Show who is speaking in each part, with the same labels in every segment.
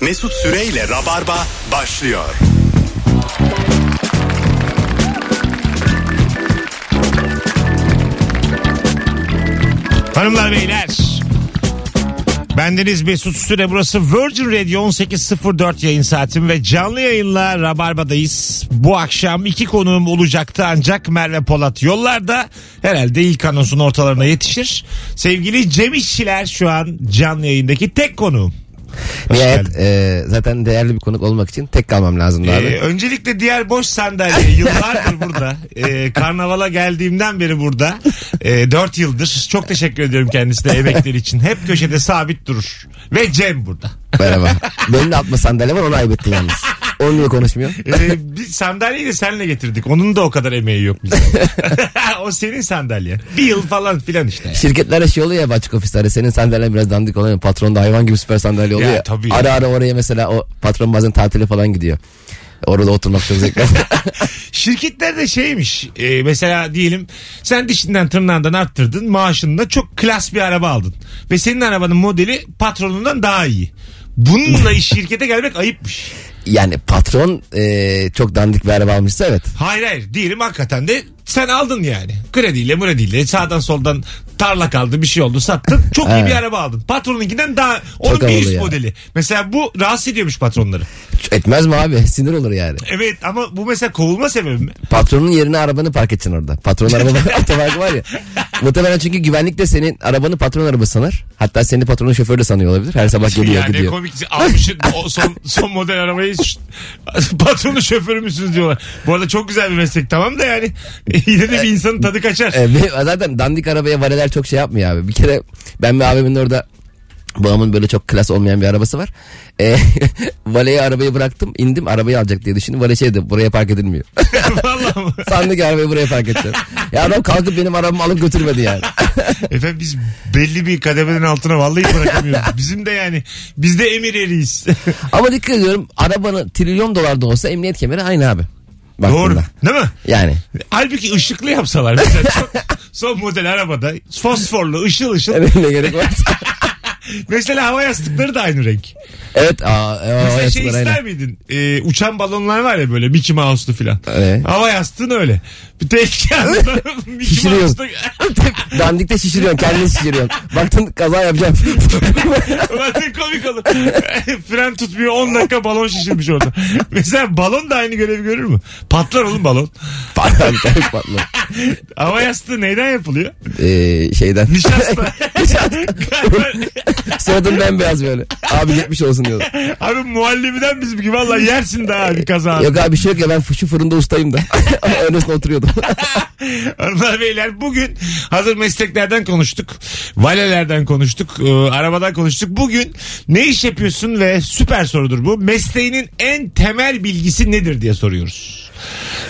Speaker 1: Mesut Süreyle Rabarba başlıyor.
Speaker 2: Hanımlar beyler. Bendeniz Mesut Süre burası Virgin Radio 18.04 yayın saatim ve canlı yayınla Rabarba'dayız. Bu akşam iki konuğum olacaktı ancak Merve Polat yollarda herhalde ilk anonsun ortalarına yetişir. Sevgili Cem İşçiler şu an canlı yayındaki tek konuğum. Hoş
Speaker 3: Nihayet
Speaker 2: geldin.
Speaker 3: e, zaten değerli bir konuk olmak için tek kalmam lazımdı
Speaker 2: Ee,
Speaker 3: abi.
Speaker 2: öncelikle diğer boş sandalye yıllardır burada. Ee, karnavala geldiğimden beri burada. Ee, 4 yıldır. Çok teşekkür ediyorum kendisine emekleri için. Hep köşede sabit durur. Ve Cem burada.
Speaker 3: Merhaba. Benim de atma sandalye var onu aybettin yalnız. Onu niye konuşmuyor?
Speaker 2: Ee, bir sandalyeyi de senle getirdik. Onun da o kadar emeği yok bizim. o senin sandalyen. Bir yıl falan filan işte.
Speaker 3: Şirketlere şey oluyor ya bu açık ofislerde senin sandalyen biraz dandik oluyor. Patron da hayvan gibi süper sandalye oluyor
Speaker 2: Ya,
Speaker 3: ya.
Speaker 2: tabii ya.
Speaker 3: ara ara oraya mesela o patron bazen tatile falan gidiyor. Orada oturmak çok zevkli.
Speaker 2: Şirketler de şeymiş. e, mesela diyelim sen dişinden tırnağından arttırdın. Maaşında çok klas bir araba aldın. Ve senin arabanın modeli patronundan daha iyi. Bununla iş şirkete gelmek ayıpmış.
Speaker 3: yani patron e, çok dandik bir araba almışsa evet.
Speaker 2: Hayır hayır diyelim hakikaten de sen aldın yani. Krediyle mrediyle sağdan soldan tarla kaldı bir şey oldu sattın. Çok iyi bir
Speaker 3: Evet.
Speaker 2: araba aldın. Patroninkinden daha onun
Speaker 3: Çok
Speaker 2: bir
Speaker 3: havalı
Speaker 2: üst
Speaker 3: ya.
Speaker 2: modeli. Mesela bu rahatsız ediyormuş patronları.
Speaker 3: Etmez mi abi? Sinir olur yani.
Speaker 2: Evet ama bu mesela kovulma sebebi mi?
Speaker 3: Patronun yerine arabanı park edeceksin orada. Patronun araba otoparkı var ya. Muhtemelen çünkü güvenlik de senin arabanı patron arabası sanar. Hatta seni patronun şoförü de sanıyor olabilir. Her sabah geliyor
Speaker 2: Şey yani
Speaker 3: gidiyor.
Speaker 2: komik almışsın o son, son model arabayı ş- patronu şoförü müsünüz diyorlar. Bu arada çok güzel bir meslek tamam da yani yine de bir insanın tadı kaçar.
Speaker 3: E, ve zaten dandik arabaya vareler çok şey yapmıyor abi. Bir kere ben ve abimin orada babamın böyle çok klas olmayan bir arabası var. E, valeye arabayı bıraktım indim arabayı alacak diye düşündüm. Vale şey dedi buraya park edilmiyor.
Speaker 2: Vallahi mı?
Speaker 3: Sandı ki arabayı buraya park edeceğim. ya adam kalkıp benim arabamı alıp götürmedi yani.
Speaker 2: Efendim biz belli bir kademeden altına vallahi bırakamıyoruz. Bizim de yani biz de emir eriyiz.
Speaker 3: Ama dikkat ediyorum arabanın trilyon dolar da olsa emniyet kemeri aynı abi.
Speaker 2: Doğru
Speaker 3: Baktığında.
Speaker 2: değil mi?
Speaker 3: Yani.
Speaker 2: Halbuki ışıklı yapsalar mesela çok- son model arabada fosforlu ışıl ışıl.
Speaker 3: Evet ne E, gerek var?
Speaker 2: Mesela hava yastıkları da aynı renk.
Speaker 3: evet. Aa, e, o
Speaker 2: Mesela şey
Speaker 3: yaşlılar
Speaker 2: ister
Speaker 3: aynen.
Speaker 2: miydin? Ee, uçan balonlar var ya böyle Mickey Mouse'lu filan.
Speaker 3: Evet.
Speaker 2: Hava yastığın öyle. Bir tehlike anında Mickey
Speaker 3: Şişiriyor.
Speaker 2: Mouse'lu.
Speaker 3: Dandikte şişiriyorsun kendini şişiriyorsun. Baktın kaza yapacağım.
Speaker 2: Ulan ne komik olur. Fren tutmuyor 10 dakika balon şişirmiş orada. Mesela balon da aynı görevi görür mü? Patlar oğlum balon.
Speaker 3: Patlar, patlar, patlar.
Speaker 2: Hava yastığı neyden yapılıyor?
Speaker 3: Ee, şeyden.
Speaker 2: Nişasta. Galiba-
Speaker 3: Suratın bembeyaz böyle. Abi gitmiş olsun diyorlar.
Speaker 2: abi muhallebiden bizim gibi valla yersin daha bir kaza.
Speaker 3: Yok abi bir şey yok ya ben şu fırında ustayım da. Öylesine oturuyordum.
Speaker 2: Hanımlar beyler bugün hazır mesleklerden konuştuk. Valelerden konuştuk. e, arabadan konuştuk. Bugün ne iş yapıyorsun ve süper sorudur bu. Mesleğinin en temel bilgisi nedir diye soruyoruz.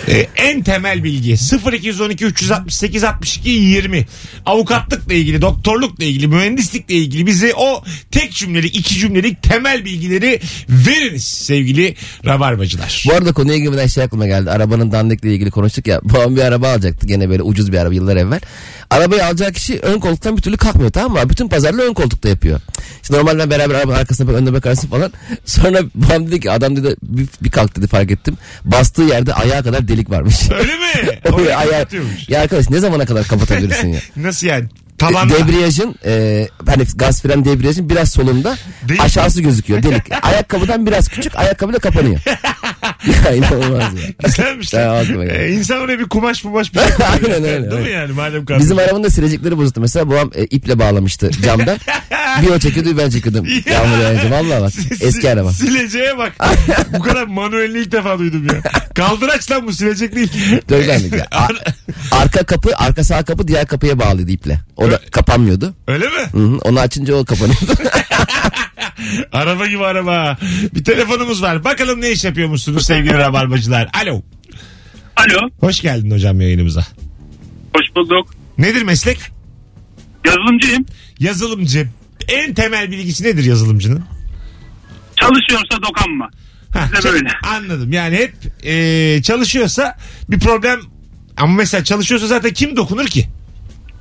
Speaker 2: E, en temel bilgi 0212 368 62 20 avukatlıkla ilgili doktorlukla ilgili mühendislikle ilgili bize o tek cümlelik iki cümlelik temel bilgileri veriniz sevgili rabarbacılar.
Speaker 3: Bu arada konuya girmeden şey aklıma geldi. Arabanın dandikle ilgili konuştuk ya. Babam bir araba alacaktı. Gene böyle ucuz bir araba yıllar evvel. Arabayı alacak kişi ön koltuktan bir türlü kalkmıyor tamam mı? abi? Bütün pazarlığı ön koltukta yapıyor. İşte normalden beraber arabanın arkasına bak, önüne bakarsın falan. Sonra babam dedi ki adam dedi bir, bir kalk dedi fark ettim. Bastığı yerde ayağa kadar delik varmış.
Speaker 2: Öyle mi?
Speaker 3: Oraya
Speaker 2: Orayı
Speaker 3: ayağı...
Speaker 2: kapatıyormuş.
Speaker 3: Ya arkadaş ne zamana kadar kapatabilirsin ya?
Speaker 2: Nasıl yani? Tabanla.
Speaker 3: Debriyajın e, hani gaz fren debriyajın biraz solunda
Speaker 2: Değil mi?
Speaker 3: aşağısı gözüküyor delik. Ayakkabıdan biraz küçük ayakkabıyla kapanıyor. ya inanılmaz ya.
Speaker 2: Güzelmiş.
Speaker 3: Ya, aklıma geldi.
Speaker 2: Ee, insan oraya bir kumaş mumaş bir şey koyuyor.
Speaker 3: Aynen öyle,
Speaker 2: Değil mi
Speaker 3: aynen.
Speaker 2: yani madem kaldı.
Speaker 3: Bizim arabanın da silecekleri bozuldu. Mesela babam e, iple bağlamıştı camdan. bir o çekiyordu ben çekiyordum.
Speaker 2: Ya.
Speaker 3: Yağmur yağınca vallahi bak eski araba.
Speaker 2: Sileceğe bak. bu kadar manuelini ilk defa duydum ya. Kaldıraç lan bu silecek değil.
Speaker 3: Dövlendik ya. A- arka kapı arka sağ kapı diğer kapıya bağlıydı iple. O da kapanmıyordu.
Speaker 2: Öyle mi?
Speaker 3: Hı hı, Onu açınca o kapanıyordu.
Speaker 2: Araba gibi araba. Bir telefonumuz var. Bakalım ne iş yapıyormuşsunuz sevgili rabarbacılar. Alo.
Speaker 4: Alo,
Speaker 2: Hoş geldin hocam yayınımıza.
Speaker 4: hoş bulduk.
Speaker 2: Nedir meslek?
Speaker 4: Yazılımcıyım.
Speaker 2: Yazılımcı. En temel bilgisi nedir yazılımcının?
Speaker 4: Çalışıyorsa dokanma.
Speaker 2: Ha,
Speaker 4: Size
Speaker 2: çal-
Speaker 4: böyle.
Speaker 2: Anladım. Yani hep e, çalışıyorsa bir problem ama mesela çalışıyorsa zaten kim dokunur ki?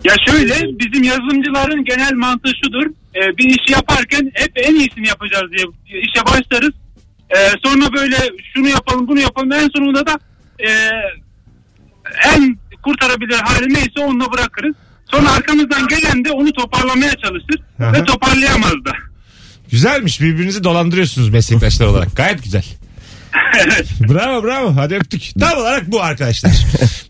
Speaker 4: Ya şöyle, bizim yazılımcıların genel mantığı şudur. e, bir işi yaparken hep en iyisini yapacağız diye işe başlarız. E, sonra böyle şunu yapalım bunu yapalım en sonunda da e, en kurtarabilir hali neyse onunla bırakırız. Sonra arkamızdan gelen de onu toparlamaya çalışır
Speaker 2: Aha.
Speaker 4: ve toparlayamaz da.
Speaker 2: Güzelmiş birbirinizi dolandırıyorsunuz meslektaşlar olarak. Gayet güzel. bravo bravo hadi öptük. Tam olarak bu arkadaşlar.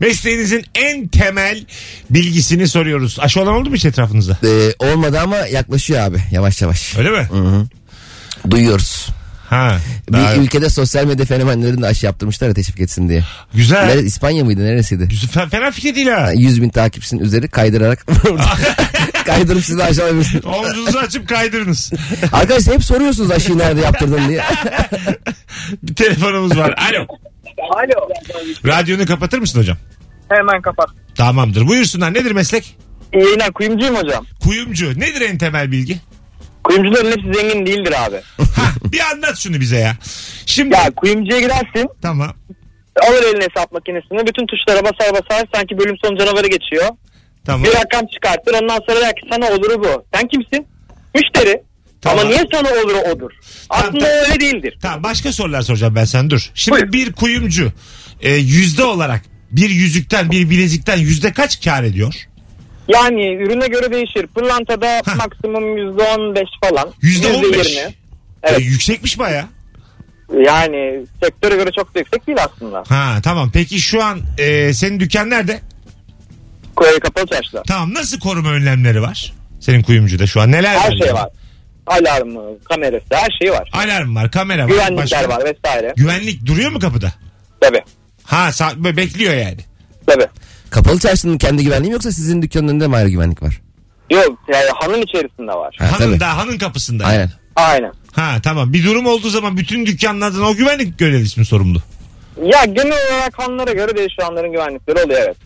Speaker 2: Mesleğinizin en temel bilgisini soruyoruz. Aşı olan oldu mu hiç etrafınızda?
Speaker 3: Ee, olmadı ama yaklaşıyor abi yavaş yavaş.
Speaker 2: Öyle mi?
Speaker 3: Duyuyoruz.
Speaker 2: Ha. daha-
Speaker 3: Bir ülkede sosyal medya fenomenlerini de aşı yaptırmışlar ya teşvik etsin diye.
Speaker 2: Güzel.
Speaker 3: Nere- İspanya mıydı neresiydi?
Speaker 2: Güzel, fe- Fena fikir değil ha.
Speaker 3: 100 bin takipçinin üzeri kaydırarak kaydırıp sizi aşağılayabilirsiniz.
Speaker 2: Omzunuzu açıp kaydırınız.
Speaker 3: Arkadaşlar hep soruyorsunuz aşıyı nerede yaptırdın diye.
Speaker 2: Bir telefonumuz var. Alo.
Speaker 5: Alo.
Speaker 2: Radyonu kapatır mısın hocam?
Speaker 5: Hemen kapat.
Speaker 2: Tamamdır. Buyursunlar. Nedir meslek?
Speaker 5: İyi yayınlar kuyumcuyum hocam.
Speaker 2: Kuyumcu. Nedir en temel bilgi?
Speaker 5: Kuyumcuların hepsi zengin değildir abi.
Speaker 2: Ha, bir anlat şunu bize ya. Şimdi
Speaker 5: Ya kuyumcuya girersin
Speaker 2: tamam.
Speaker 5: alır eline hesap makinesini bütün tuşlara basar basar sanki bölüm sonu canavarı geçiyor.
Speaker 2: Tamam.
Speaker 5: Bir rakam çıkartır ondan sonra der ki sana oluru bu. Sen kimsin? Müşteri.
Speaker 2: Tamam.
Speaker 5: Ama niye sana oluru odur? Aslında
Speaker 2: Tamam.
Speaker 5: öyle değildir.
Speaker 2: Tamam başka sorular soracağım ben sen dur. Şimdi
Speaker 5: Buyur.
Speaker 2: bir kuyumcu e, yüzde olarak bir yüzükten bir bilezikten yüzde kaç kar ediyor?
Speaker 5: Yani ürüne göre değişir. Pırlantada
Speaker 2: Hah.
Speaker 5: maksimum %15 falan.
Speaker 2: Yüzde on beş.
Speaker 5: %20.
Speaker 2: E,
Speaker 5: Evet.
Speaker 2: yüksekmiş baya.
Speaker 5: Yani sektöre göre çok da yüksek değil aslında.
Speaker 2: Ha tamam peki şu an e, senin dükkan nerede?
Speaker 5: Koyu kapalı çarşıda.
Speaker 2: Tamam nasıl koruma önlemleri var? Senin kuyumcuda şu an neler
Speaker 5: Her şey
Speaker 2: yani?
Speaker 5: var. Alarmı, kamerası her şeyi var.
Speaker 2: Alarm var, kamera var.
Speaker 5: Güvenlikler
Speaker 2: başka-
Speaker 5: var vesaire.
Speaker 2: Güvenlik duruyor mu kapıda?
Speaker 5: Tabii.
Speaker 2: Ha sa- böyle bekliyor yani.
Speaker 5: Tabii.
Speaker 3: Kapalı çarşının kendi güvenliği mi yoksa sizin dükkanın önünde mi ayrı güvenlik var?
Speaker 5: Yok yani hanın içerisinde var.
Speaker 3: Ha,
Speaker 2: hanın
Speaker 3: tabii.
Speaker 2: da hanın kapısında.
Speaker 3: Aynen.
Speaker 5: Aynen.
Speaker 2: Ha tamam. Bir durum olduğu zaman bütün dükkanlardan o güvenlik görevlisi mi sorumlu?
Speaker 5: Ya genel olarak hanlara göre değişiyor hanların güvenlikleri oluyor evet.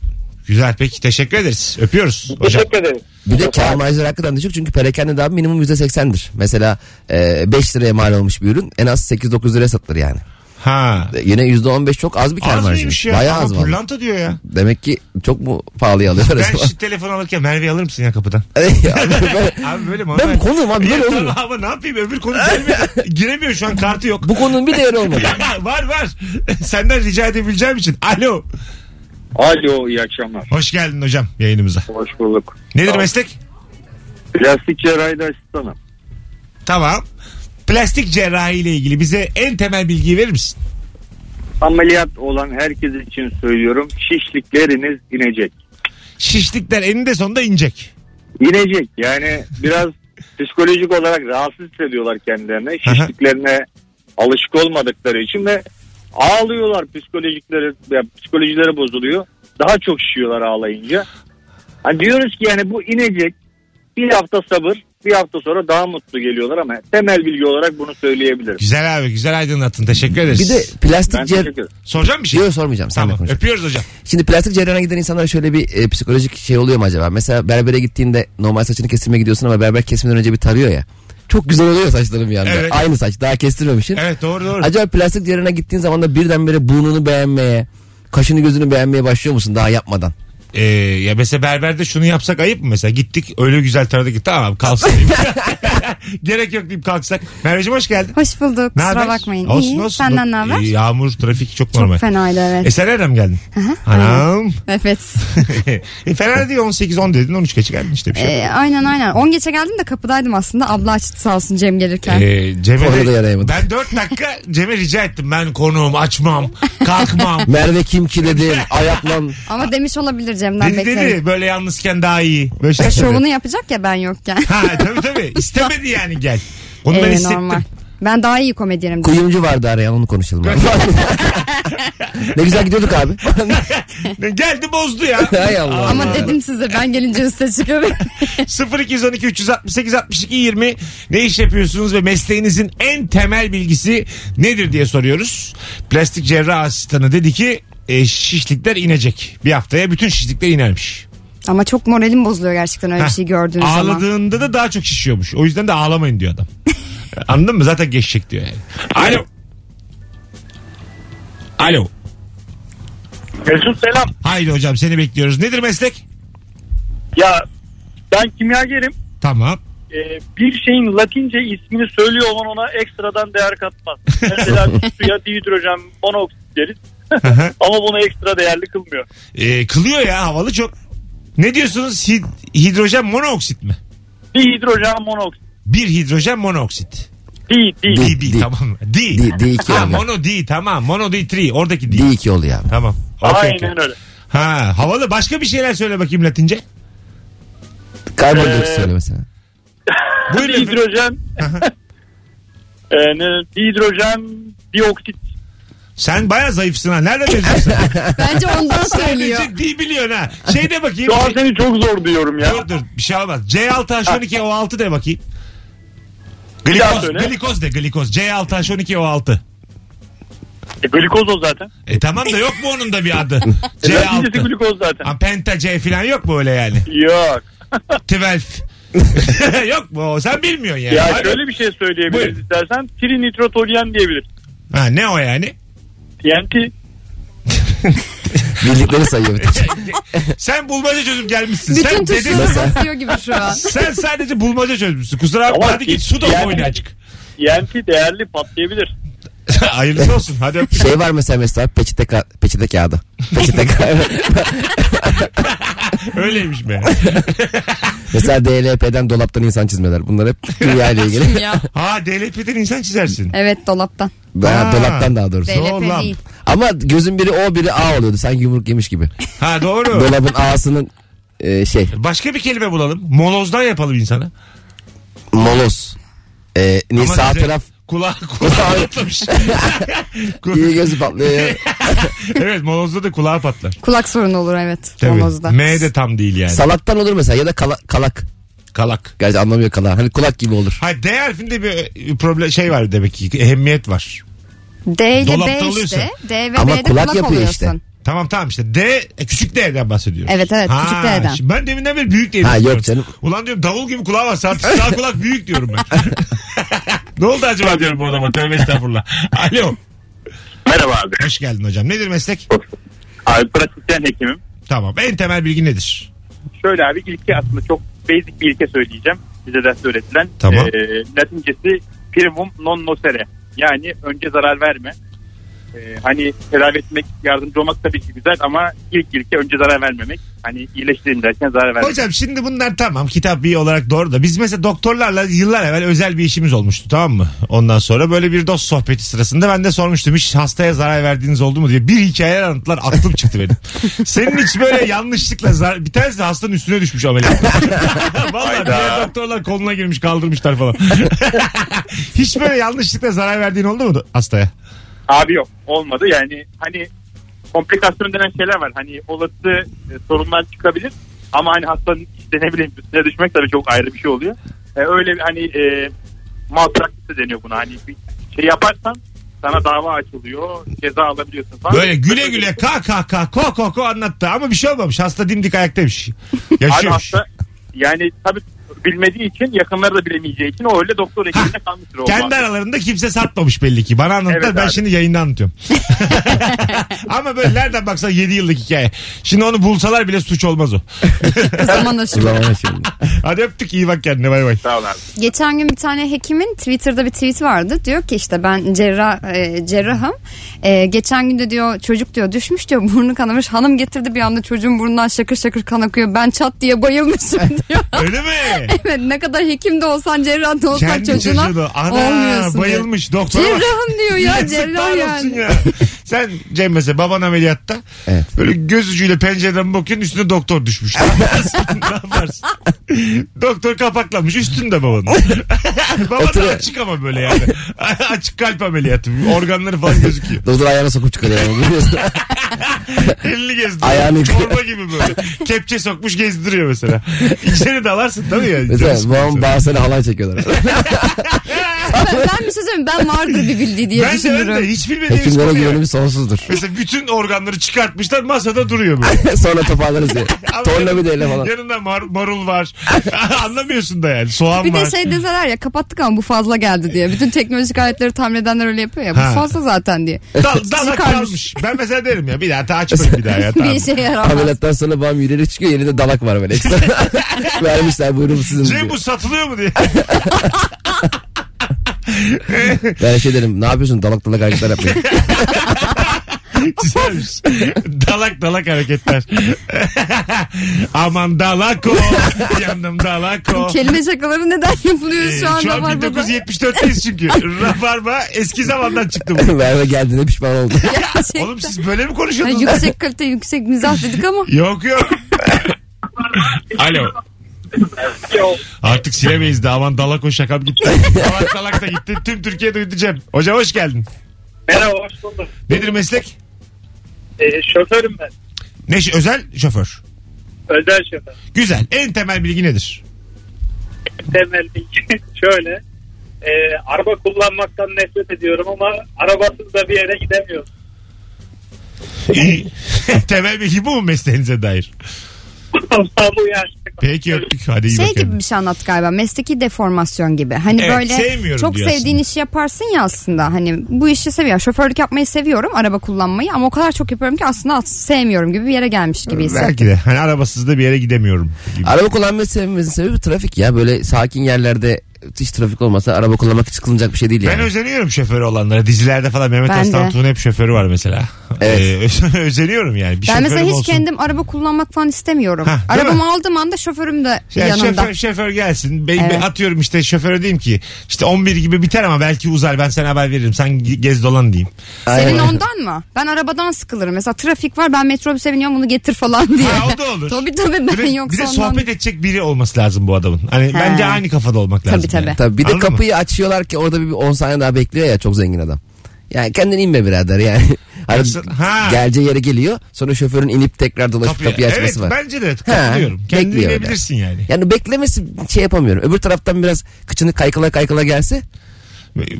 Speaker 2: Güzel peki teşekkür ederiz. Öpüyoruz hocam.
Speaker 5: Teşekkür ederiz.
Speaker 3: Bir de kar marjları hakikaten düşük çünkü perakende daha minimum %80'dir. Mesela e, 5 liraya mal olmuş bir ürün en az 8-9 liraya satılır yani.
Speaker 2: Ha.
Speaker 3: E, Yine %15 çok az bir kar
Speaker 2: Az
Speaker 3: marjı.
Speaker 2: mıymış ya?
Speaker 3: Bayağı
Speaker 2: Ama
Speaker 3: az var.
Speaker 2: Pırlanta diyor ya.
Speaker 3: Demek ki çok mu pahalıya alıyorlar
Speaker 2: Ben
Speaker 3: acaba?
Speaker 2: şu telefon alırken Merve'yi alır mısın ya kapıdan? Abi böyle mi?
Speaker 3: Ben bu konuyum abi, böyle
Speaker 2: Ya
Speaker 3: olur mu?
Speaker 2: tamam Ama ne yapayım öbür konu gelmedi. Giremiyor şu an kartı yok.
Speaker 3: Bu konunun bir değeri olmadı.
Speaker 2: var var. Senden rica edebileceğim için. Alo.
Speaker 6: Alo iyi akşamlar.
Speaker 2: Hoş geldin hocam yayınımıza.
Speaker 6: Hoş bulduk.
Speaker 2: Nedir
Speaker 6: Tamam.
Speaker 2: meslek?
Speaker 6: Plastik cerrahide asistanım.
Speaker 2: Tamam. Plastik cerrahi ile ilgili bize en temel bilgiyi verir misin?
Speaker 6: Ameliyat olan herkes için söylüyorum. Şişlikleriniz inecek.
Speaker 2: Şişlikler eninde sonunda inecek.
Speaker 6: İnecek. Yani biraz psikolojik olarak rahatsız hissediyorlar kendilerine. Şişliklerine alışık olmadıkları için ve ağlıyorlar psikolojikleri ya psikolojileri bozuluyor. Daha çok şişiyorlar ağlayınca. Hani diyoruz ki yani bu inecek. Bir hafta sabır, bir hafta sonra daha mutlu geliyorlar ama temel bilgi olarak bunu söyleyebilirim.
Speaker 2: Güzel abi güzel aydınlattın teşekkür ederiz.
Speaker 3: Bir de plastik
Speaker 6: Ben teşekkür
Speaker 3: cerrah...
Speaker 6: ederim.
Speaker 2: soracağım bir şey.
Speaker 3: Yok sormayacağım. Sen
Speaker 2: Tamam
Speaker 3: konuş.
Speaker 2: öpüyoruz hocam.
Speaker 3: Şimdi plastik cerrahına giden insanlara şöyle bir e, psikolojik şey oluyor mu acaba? Mesela berbere gittiğinde normal saçını kestirmeye gidiyorsun ama berber kesmeden önce bir tarıyor ya. Çok güzel oluyor saçların bir anda.
Speaker 2: Evet.
Speaker 3: Aynı saç daha kestirmemişsin.
Speaker 2: Evet doğru doğru.
Speaker 3: Acaba plastik cerrahına gittiğin zaman da birdenbire burnunu beğenmeye, kaşını gözünü beğenmeye başlıyor musun daha yapmadan?
Speaker 2: Ee, ya mesela berberde şunu yapsak ayıp mı mesela? Gittik öyle güzel taradık ki tamam kalksın diyeyim. Gerek yok deyip kalksak. Merveciğim hoş geldin.
Speaker 7: Hoş bulduk.
Speaker 2: Ne
Speaker 7: Kusura
Speaker 2: haber?
Speaker 7: bakmayın.
Speaker 2: Olsun,
Speaker 7: İyi.
Speaker 2: olsun.
Speaker 7: Senden ne haber?
Speaker 2: Ee, Yağmur, trafik çok normal.
Speaker 7: Çok fenaydı evet.
Speaker 2: E sen nereden geldin? Anam.
Speaker 7: Evet.
Speaker 2: e, Fener diyor 18-10 dedin 13 geçe geldin işte bir şey. yok.
Speaker 7: Ee, aynen aynen. 10 geçe geldim de kapıdaydım aslında. Abla açtı sağ olsun Cem gelirken.
Speaker 2: Ee, Cem'e
Speaker 3: Orada
Speaker 2: de-
Speaker 3: yarayamadı.
Speaker 2: ben 4 dakika Cem'e rica ettim. Ben konuğum açmam, kalkmam.
Speaker 3: Merve kim ki dedi, ayaklan.
Speaker 7: Ama demiş olabilir Cem'den
Speaker 2: dedi
Speaker 7: beklerim.
Speaker 2: dedi böyle yalnızken daha iyi. Böyle şeyler
Speaker 7: Şovunu
Speaker 2: söyledi.
Speaker 7: yapacak ya ben yokken.
Speaker 2: Ha tabii tabii. İstemedi yani gel. Onu ben
Speaker 7: Ee,
Speaker 2: hissettim.
Speaker 7: normal. Ben daha iyi komedyenim.
Speaker 3: Kuyumcu vardı arayan onu konuşalım. abi. ne güzel gidiyorduk abi.
Speaker 2: Geldi bozdu ya.
Speaker 3: Hay Allah.
Speaker 7: Ama dedim size ben gelince üste çıkıyorum.
Speaker 2: 0212 368 62 20 ne iş yapıyorsunuz ve mesleğinizin en temel bilgisi nedir diye soruyoruz. Plastik cerrah asistanı dedi ki e, şişlikler inecek. Bir haftaya bütün şişlikler inermiş.
Speaker 7: Ama çok moralim bozuluyor gerçekten öyle bir şey
Speaker 2: Heh,
Speaker 7: gördüğünüz zaman.
Speaker 2: Ağladığında da daha çok şişiyormuş. O yüzden de ağlamayın diyor adam. Anladın mı? Zaten geçecek diyor yani. Alo. Alo.
Speaker 4: Mesut selam.
Speaker 2: Haydi hocam seni bekliyoruz. Nedir meslek?
Speaker 4: Ya ben kimyagerim.
Speaker 2: Tamam.
Speaker 4: e, bir şeyin latince ismini söylüyor olman ona ekstradan değer katmaz. Mesela suya dihidrojen monoksit deriz
Speaker 2: Aha.
Speaker 4: ama bunu ekstra değerli kılmıyor.
Speaker 2: Ee, kılıyor ya havalı çok. Ne diyorsunuz? Hid- hidrojen monooksit mi?
Speaker 4: Dihidrojen monoksit.
Speaker 2: Bir hidrojen monooksit.
Speaker 4: Di,
Speaker 3: Di-
Speaker 4: di.
Speaker 2: D, D,
Speaker 3: di.
Speaker 2: tamam. D.
Speaker 3: D- D2
Speaker 2: ha,
Speaker 3: abi.
Speaker 2: mono D tamam. Mono D 3. Oradaki D.
Speaker 3: D2 oluyor abi.
Speaker 2: Tamam. Okey, okey.
Speaker 4: Aynen öyle.
Speaker 2: Ha, havalı. Başka bir şeyler söyle bakayım Latince.
Speaker 3: Karbondioksit söyle mesela.
Speaker 2: Buyurun efendim.
Speaker 4: Dihidrojen. e, ne, dihidrojen dioksit.
Speaker 2: Sen baya zayıfsın ha. Nereden biliyorsun?
Speaker 7: Bence ondan söylüyor.
Speaker 2: Sadece D biliyorsun ha. Şey de bakayım.
Speaker 4: Şu an seni çok zor diyorum ya.
Speaker 2: Dur dur bir şey olmaz. C6H12O6 de bakayım.
Speaker 4: daha
Speaker 2: Glikoz,
Speaker 4: söyle.
Speaker 2: glikoz de glikoz. C6H12O6.
Speaker 4: E, glikoz o zaten.
Speaker 2: E tamam da yok mu onun da bir adı?
Speaker 4: E, Latincesi
Speaker 2: C6.
Speaker 4: glikoz zaten.
Speaker 2: Ha, penta C falan yok mu öyle yani?
Speaker 4: Yok.
Speaker 2: 12. yok mu? o? Sen bilmiyorsun yani.
Speaker 4: Ya
Speaker 2: Abi-
Speaker 4: şöyle bir şey söyleyebiliriz
Speaker 2: Buyurun.
Speaker 4: istersen. Trinitrotolyen diyebiliriz.
Speaker 2: Ha, ne o yani?
Speaker 4: TNT.
Speaker 3: Bildikleri sayıyor bir tek.
Speaker 2: Sen bulmaca çözüp gelmişsin.
Speaker 7: Bütün
Speaker 2: sen dedin.
Speaker 7: tuşları basıyor gibi şu an.
Speaker 2: Sen sadece bulmaca çözmüşsün. Kusura bakma
Speaker 4: Ama
Speaker 2: hadi git su da
Speaker 4: yani-
Speaker 2: oyna açık.
Speaker 4: TNT değerli patlayabilir.
Speaker 2: Hayırlısı olsun hadi öptüm.
Speaker 3: Şey var mesela mesela peçete, ka- peçete kağıdı. Peçete kağıdı.
Speaker 2: Öyleymiş be.
Speaker 3: mesela DLP'den dolaptan insan çizmeler. Bunlar hep dünya ile ilgili.
Speaker 7: Ya.
Speaker 2: ha DLP'den insan çizersin.
Speaker 7: Evet dolaptan.
Speaker 3: Daha
Speaker 2: Aa.
Speaker 3: dolaptan daha doğrusu.
Speaker 2: Zorlam.
Speaker 7: DLP değil.
Speaker 3: Ama gözün biri O biri A oluyordu. Sen yumruk yemiş gibi.
Speaker 2: Ha doğru.
Speaker 3: Dolabın A'sının e, şey
Speaker 2: Başka bir kelime bulalım. Molozdan yapalım insana.
Speaker 3: molos. E, ni-
Speaker 2: Ama şey-
Speaker 3: sağ
Speaker 2: bize
Speaker 3: taraf
Speaker 2: Kulağı, kulağı patlamış.
Speaker 3: iyi
Speaker 2: Kul-
Speaker 3: gözü patlıyor.
Speaker 2: evet molozda da kulağı patlar.
Speaker 7: Kulak sorunu olur evet.
Speaker 2: Tabii.
Speaker 7: Molozda.
Speaker 2: M de tam değil yani.
Speaker 3: Salattan olur mesela ya da kala- kalak.
Speaker 2: Kalak.
Speaker 3: Gerçi anlamıyor kalak. Hani kulak gibi olur.
Speaker 2: Ha D harfinde bir problem şey var demek ki. Ehemmiyet var.
Speaker 7: D ile
Speaker 2: Dolapta
Speaker 7: B
Speaker 2: oluyorsun.
Speaker 7: işte. D ve
Speaker 3: Ama
Speaker 7: B'de
Speaker 3: kulak
Speaker 7: kulak,
Speaker 3: yapıyor
Speaker 7: oluyorsun.
Speaker 3: işte.
Speaker 2: Tamam tamam işte D e, küçük D'den bahsediyoruz.
Speaker 7: Evet, evet, küçük D'den.
Speaker 2: şimdi Ben deminden beri büyük D'yi
Speaker 3: Ha, yok
Speaker 2: düşünüyorum.
Speaker 3: canım.
Speaker 2: Ulan diyorum davul gibi kulağı var sağ, sağ kulak büyük diyorum ben. ne oldu acaba diyorum bu adama tövbe estağfurullah. Alo
Speaker 6: Merhaba abi.
Speaker 2: hoş geldin hocam nedir meslek?
Speaker 6: Abi pratikten hekimim.
Speaker 2: Tamam en temel bilgi nedir?
Speaker 4: Şöyle abi ilke aslında çok basic bir ilke söyleyeceğim. Bize de öğretilen.
Speaker 2: Tamam.
Speaker 4: Ee, Latincesi primum non nocere. Yani önce zarar verme. Ee, hani tedavi etmek, yardımcı olmak tabii ki güzel ama ilk ilke önce zarar vermemek. Hani iyileştirelim derken zarar vermemek.
Speaker 2: Hocam şimdi bunlar tamam kitap bir olarak doğru da biz mesela doktorlarla yıllar evvel özel bir işimiz olmuştu tamam mı? Ondan sonra böyle bir dost sohbeti sırasında ben de sormuştum hiç hastaya zarar verdiğiniz oldu mu diye bir hikaye anlattılar aklım çıktı benim. Senin hiç böyle yanlışlıkla zarar... bir tanesi de hastanın üstüne düşmüş ameliyat. Vallahi diğer doktorlar koluna girmiş kaldırmışlar falan. hiç böyle yanlışlıkla zarar verdiğin oldu mu hastaya?
Speaker 4: Abi yok olmadı yani hani komplikasyon denen şeyler var. Hani olası e, sorunlar çıkabilir ama hani hastanın işte ne bileyim üstüne düşmek tabii çok ayrı bir şey oluyor. E, öyle bir hani e, malpraktisi deniyor buna hani bir şey yaparsan sana dava açılıyor ceza alabiliyorsun falan.
Speaker 2: Böyle güle güle kah kah kah ko ko ko anlattı ama bir şey olmamış hasta dimdik ayaktaymış.
Speaker 4: Abi
Speaker 2: Yaşıyormuş.
Speaker 4: Hani hasta yani tabii bilmediği için yakınları da bilemeyeceği için o öyle doktor ekibine kalmıştır. o
Speaker 2: Kendi
Speaker 4: maalesef.
Speaker 2: aralarında kimse satmamış belli ki. Bana anlattılar
Speaker 4: Evet
Speaker 2: ben
Speaker 4: abi.
Speaker 2: şimdi yayında anlatıyorum. Ama böyle nereden baksan 7 yıllık hikaye. Şimdi onu bulsalar bile suç olmaz o.
Speaker 7: Zaman
Speaker 3: O
Speaker 7: aşımı.
Speaker 3: zaman şimdi.
Speaker 2: Hadi öptük iyi bak kendine bay bay.
Speaker 4: Sağ ol abi.
Speaker 7: Geçen gün bir tane hekimin Twitter'da bir tweet vardı. Diyor ki işte ben cerrah e, cerrahım. E, geçen gün de diyor çocuk diyor düşmüş diyor burnu kanamış. Hanım getirdi bir anda çocuğun burnundan şakır şakır kan akıyor. Ben çat diye bayılmışım diyor.
Speaker 2: Öyle mi?
Speaker 7: evet ne kadar hekim de olsan cerrah da olsan
Speaker 2: Kendi
Speaker 7: çocuğuna
Speaker 2: çocuğunu. Ana
Speaker 7: olmuyorsun.
Speaker 2: bayılmış doktora.
Speaker 7: Diyor.
Speaker 2: bak.
Speaker 7: Cerrahım diyor ya
Speaker 2: Yazıklar
Speaker 7: cerrah
Speaker 2: olsun
Speaker 7: yani.
Speaker 2: ya. Sen Cem mesela baban ameliyatta
Speaker 3: Evet.
Speaker 2: böyle göz ucuyla pencereden bakıyorsun üstüne doktor düşmüş. Ne yaparsın? ne yaparsın? doktor kapaklamış üstünde babanın. baban da
Speaker 3: Oturuyor.
Speaker 2: açık ama böyle yani. açık kalp ameliyatı. Organları falan gözüküyor.
Speaker 3: Doktor ayağına sokup çıkarıyor. ama biliyorsun.
Speaker 2: Elini gezdiriyor.
Speaker 3: Ayağını-
Speaker 2: Çorba gibi böyle. Kepçe sokmuş gezdiriyor mesela. İçeri dalarsın tabii ya.
Speaker 3: mesela babamın bağırsana halay çekiyorlar.
Speaker 7: Ben, ben bir şey söyleyeyim ben vardır bir bildiği diye
Speaker 2: ben de öyle
Speaker 7: düşünürüm.
Speaker 2: hiç bilmediğimiz
Speaker 3: Hekimlere
Speaker 2: konu yani.
Speaker 3: güvenim sonsuzdur.
Speaker 2: Mesela bütün organları çıkartmışlar masada duruyor böyle.
Speaker 3: Sonra toparlarız ya.
Speaker 2: Ama
Speaker 3: Tornavidayla falan.
Speaker 2: Yanında mar- marul var. Anlamıyorsun da yani soğan
Speaker 7: Bir
Speaker 2: var.
Speaker 7: de şey deseler ya kapattık ama bu fazla geldi diye. Bütün teknolojik aletleri tamir edenler öyle yapıyor ya. Bu
Speaker 2: Ha.
Speaker 7: fazla zaten diye.
Speaker 2: Dal, dala
Speaker 7: Çıkarmış.
Speaker 2: kalmış. Ben mesela derim ya bir daha ta açmayın bir daha ya.
Speaker 7: bir şey-
Speaker 2: Tamam.
Speaker 7: işe yaramaz.
Speaker 3: Ameliyattan sonra babam yürüyerek çıkıyor yerinde dalak var böyle. Ekstra. Vermişler buyurun bu sizin
Speaker 2: Cem
Speaker 3: diyor.
Speaker 2: bu satılıyor mu diye.
Speaker 3: Ben şey derim ne yapıyorsun dalak dalak hareketler yapıyor.
Speaker 2: Güzelmiş. dalak dalak hareketler. Aman dalako. Yandım dalako.
Speaker 7: Kelime şakaları neden yapılıyor
Speaker 2: Ee,
Speaker 7: şu an?
Speaker 2: Şu an
Speaker 7: Rabarba'da?
Speaker 2: 1974'teyiz çünkü. Rabarba eski zamandan çıktı bu.
Speaker 3: Verme geldiğinde pişman oldum.
Speaker 7: Gerçekten.
Speaker 2: Oğlum siz böyle mi
Speaker 7: Ha,
Speaker 2: konuşuyordunuz?
Speaker 7: şey- yüksek kalite yüksek mizah dedik ama.
Speaker 2: Yok yok. Alo. Artık silemeyiz de aman dalak o şakam gitti. dalak dalak da gitti. Tüm Türkiye duydu Cem. Hocam hoş geldin.
Speaker 4: Merhaba hoş bulduk.
Speaker 2: Nedir meslek?
Speaker 4: Ee, şoförüm ben.
Speaker 2: Ne ş- özel şoför.
Speaker 4: Özel şoför.
Speaker 2: Güzel. En temel bilgi nedir?
Speaker 4: Temel bilgi şöyle. Ee, araba kullanmaktan nefret ediyorum ama arabasız da bir yere gidemiyorum.
Speaker 2: temel bilgi bu mu mesleğinize dair?
Speaker 4: Allah bu yaşta.
Speaker 2: Peki öptük. Hadi iyi
Speaker 7: Şey
Speaker 2: bakın.
Speaker 7: gibi bir şey anlat galiba mesleki deformasyon gibi. Hani
Speaker 2: Evet,
Speaker 7: böyle
Speaker 2: sevmiyorum
Speaker 7: çok
Speaker 2: diyorsun.
Speaker 7: sevdiğin işi yaparsın ya aslında. Hani bu işi seviyorum. Şoförlük yapmayı seviyorum. Araba kullanmayı ama o kadar çok yapıyorum ki aslında sevmiyorum gibi bir yere gelmiş gibi hissettim.
Speaker 2: Belki de. Hani arabasız da bir yere gidemiyorum. gibi.
Speaker 3: Araba kullanmayı sevmemizin sebebi trafik ya. Böyle sakin yerlerde hiç trafik olmasa araba kullanmak hiç sıkılacak bir şey değil
Speaker 2: Ben
Speaker 3: yani.
Speaker 2: özeniyorum şoförü olanlara. Dizilerde falan Mehmet
Speaker 7: Ben de.
Speaker 2: Aslan Tuğ'un hep şoförü var mesela.
Speaker 3: Evet.
Speaker 2: Ee, özeniyorum yani. Bir
Speaker 7: Ben mesela
Speaker 2: şoförüm
Speaker 7: hiç
Speaker 2: olsun.
Speaker 7: kendim araba kullanmak falan istemiyorum.
Speaker 2: Hah, değil
Speaker 7: Arabamı
Speaker 2: mi?
Speaker 7: aldığım anda şoförüm de
Speaker 2: Ya
Speaker 7: yanımda.
Speaker 2: şoför, şoför gelsin. Ben, ben
Speaker 7: Evet.
Speaker 2: atıyorum işte şoföre diyeyim ki işte 11 gibi biter ama belki uzar ben sana haber veririm. Sen ge- gez dolan diyeyim.
Speaker 7: Senin
Speaker 3: Aynen.
Speaker 7: ondan mı? Ben arabadan sıkılırım. Mesela trafik var ben metrobüse biniyorum bunu getir falan diye.
Speaker 2: Ha, o da olur.
Speaker 7: tabii tabii ben
Speaker 2: Bir de, bir
Speaker 7: yoksa
Speaker 2: de
Speaker 7: ondan.
Speaker 2: sohbet edecek biri olması lazım bu adamın. Hani bence aynı kafada olmak lazım.
Speaker 7: tabii.
Speaker 2: yani.
Speaker 3: Tabii bir de
Speaker 2: Anladın mı?
Speaker 3: kapıyı açıyorlar ki orada bir 10 saniye daha bekliyor ya çok zengin adam. Yani kendin inme birader yani. Hani
Speaker 2: Yoksa- ha.
Speaker 3: geleceği yere geliyor. Sonra şoförün inip tekrar dolaşıp
Speaker 2: Kapıya.
Speaker 3: kapıyı, açması
Speaker 2: evet,
Speaker 3: var.
Speaker 2: bence de katılıyorum.
Speaker 3: Ha,
Speaker 2: Kendini
Speaker 3: bekliyor öyle.
Speaker 2: bilebilirsin yani.
Speaker 3: Yani beklemesi şey yapamıyorum. Öbür taraftan biraz kıçını kaykıla kaykıla gelse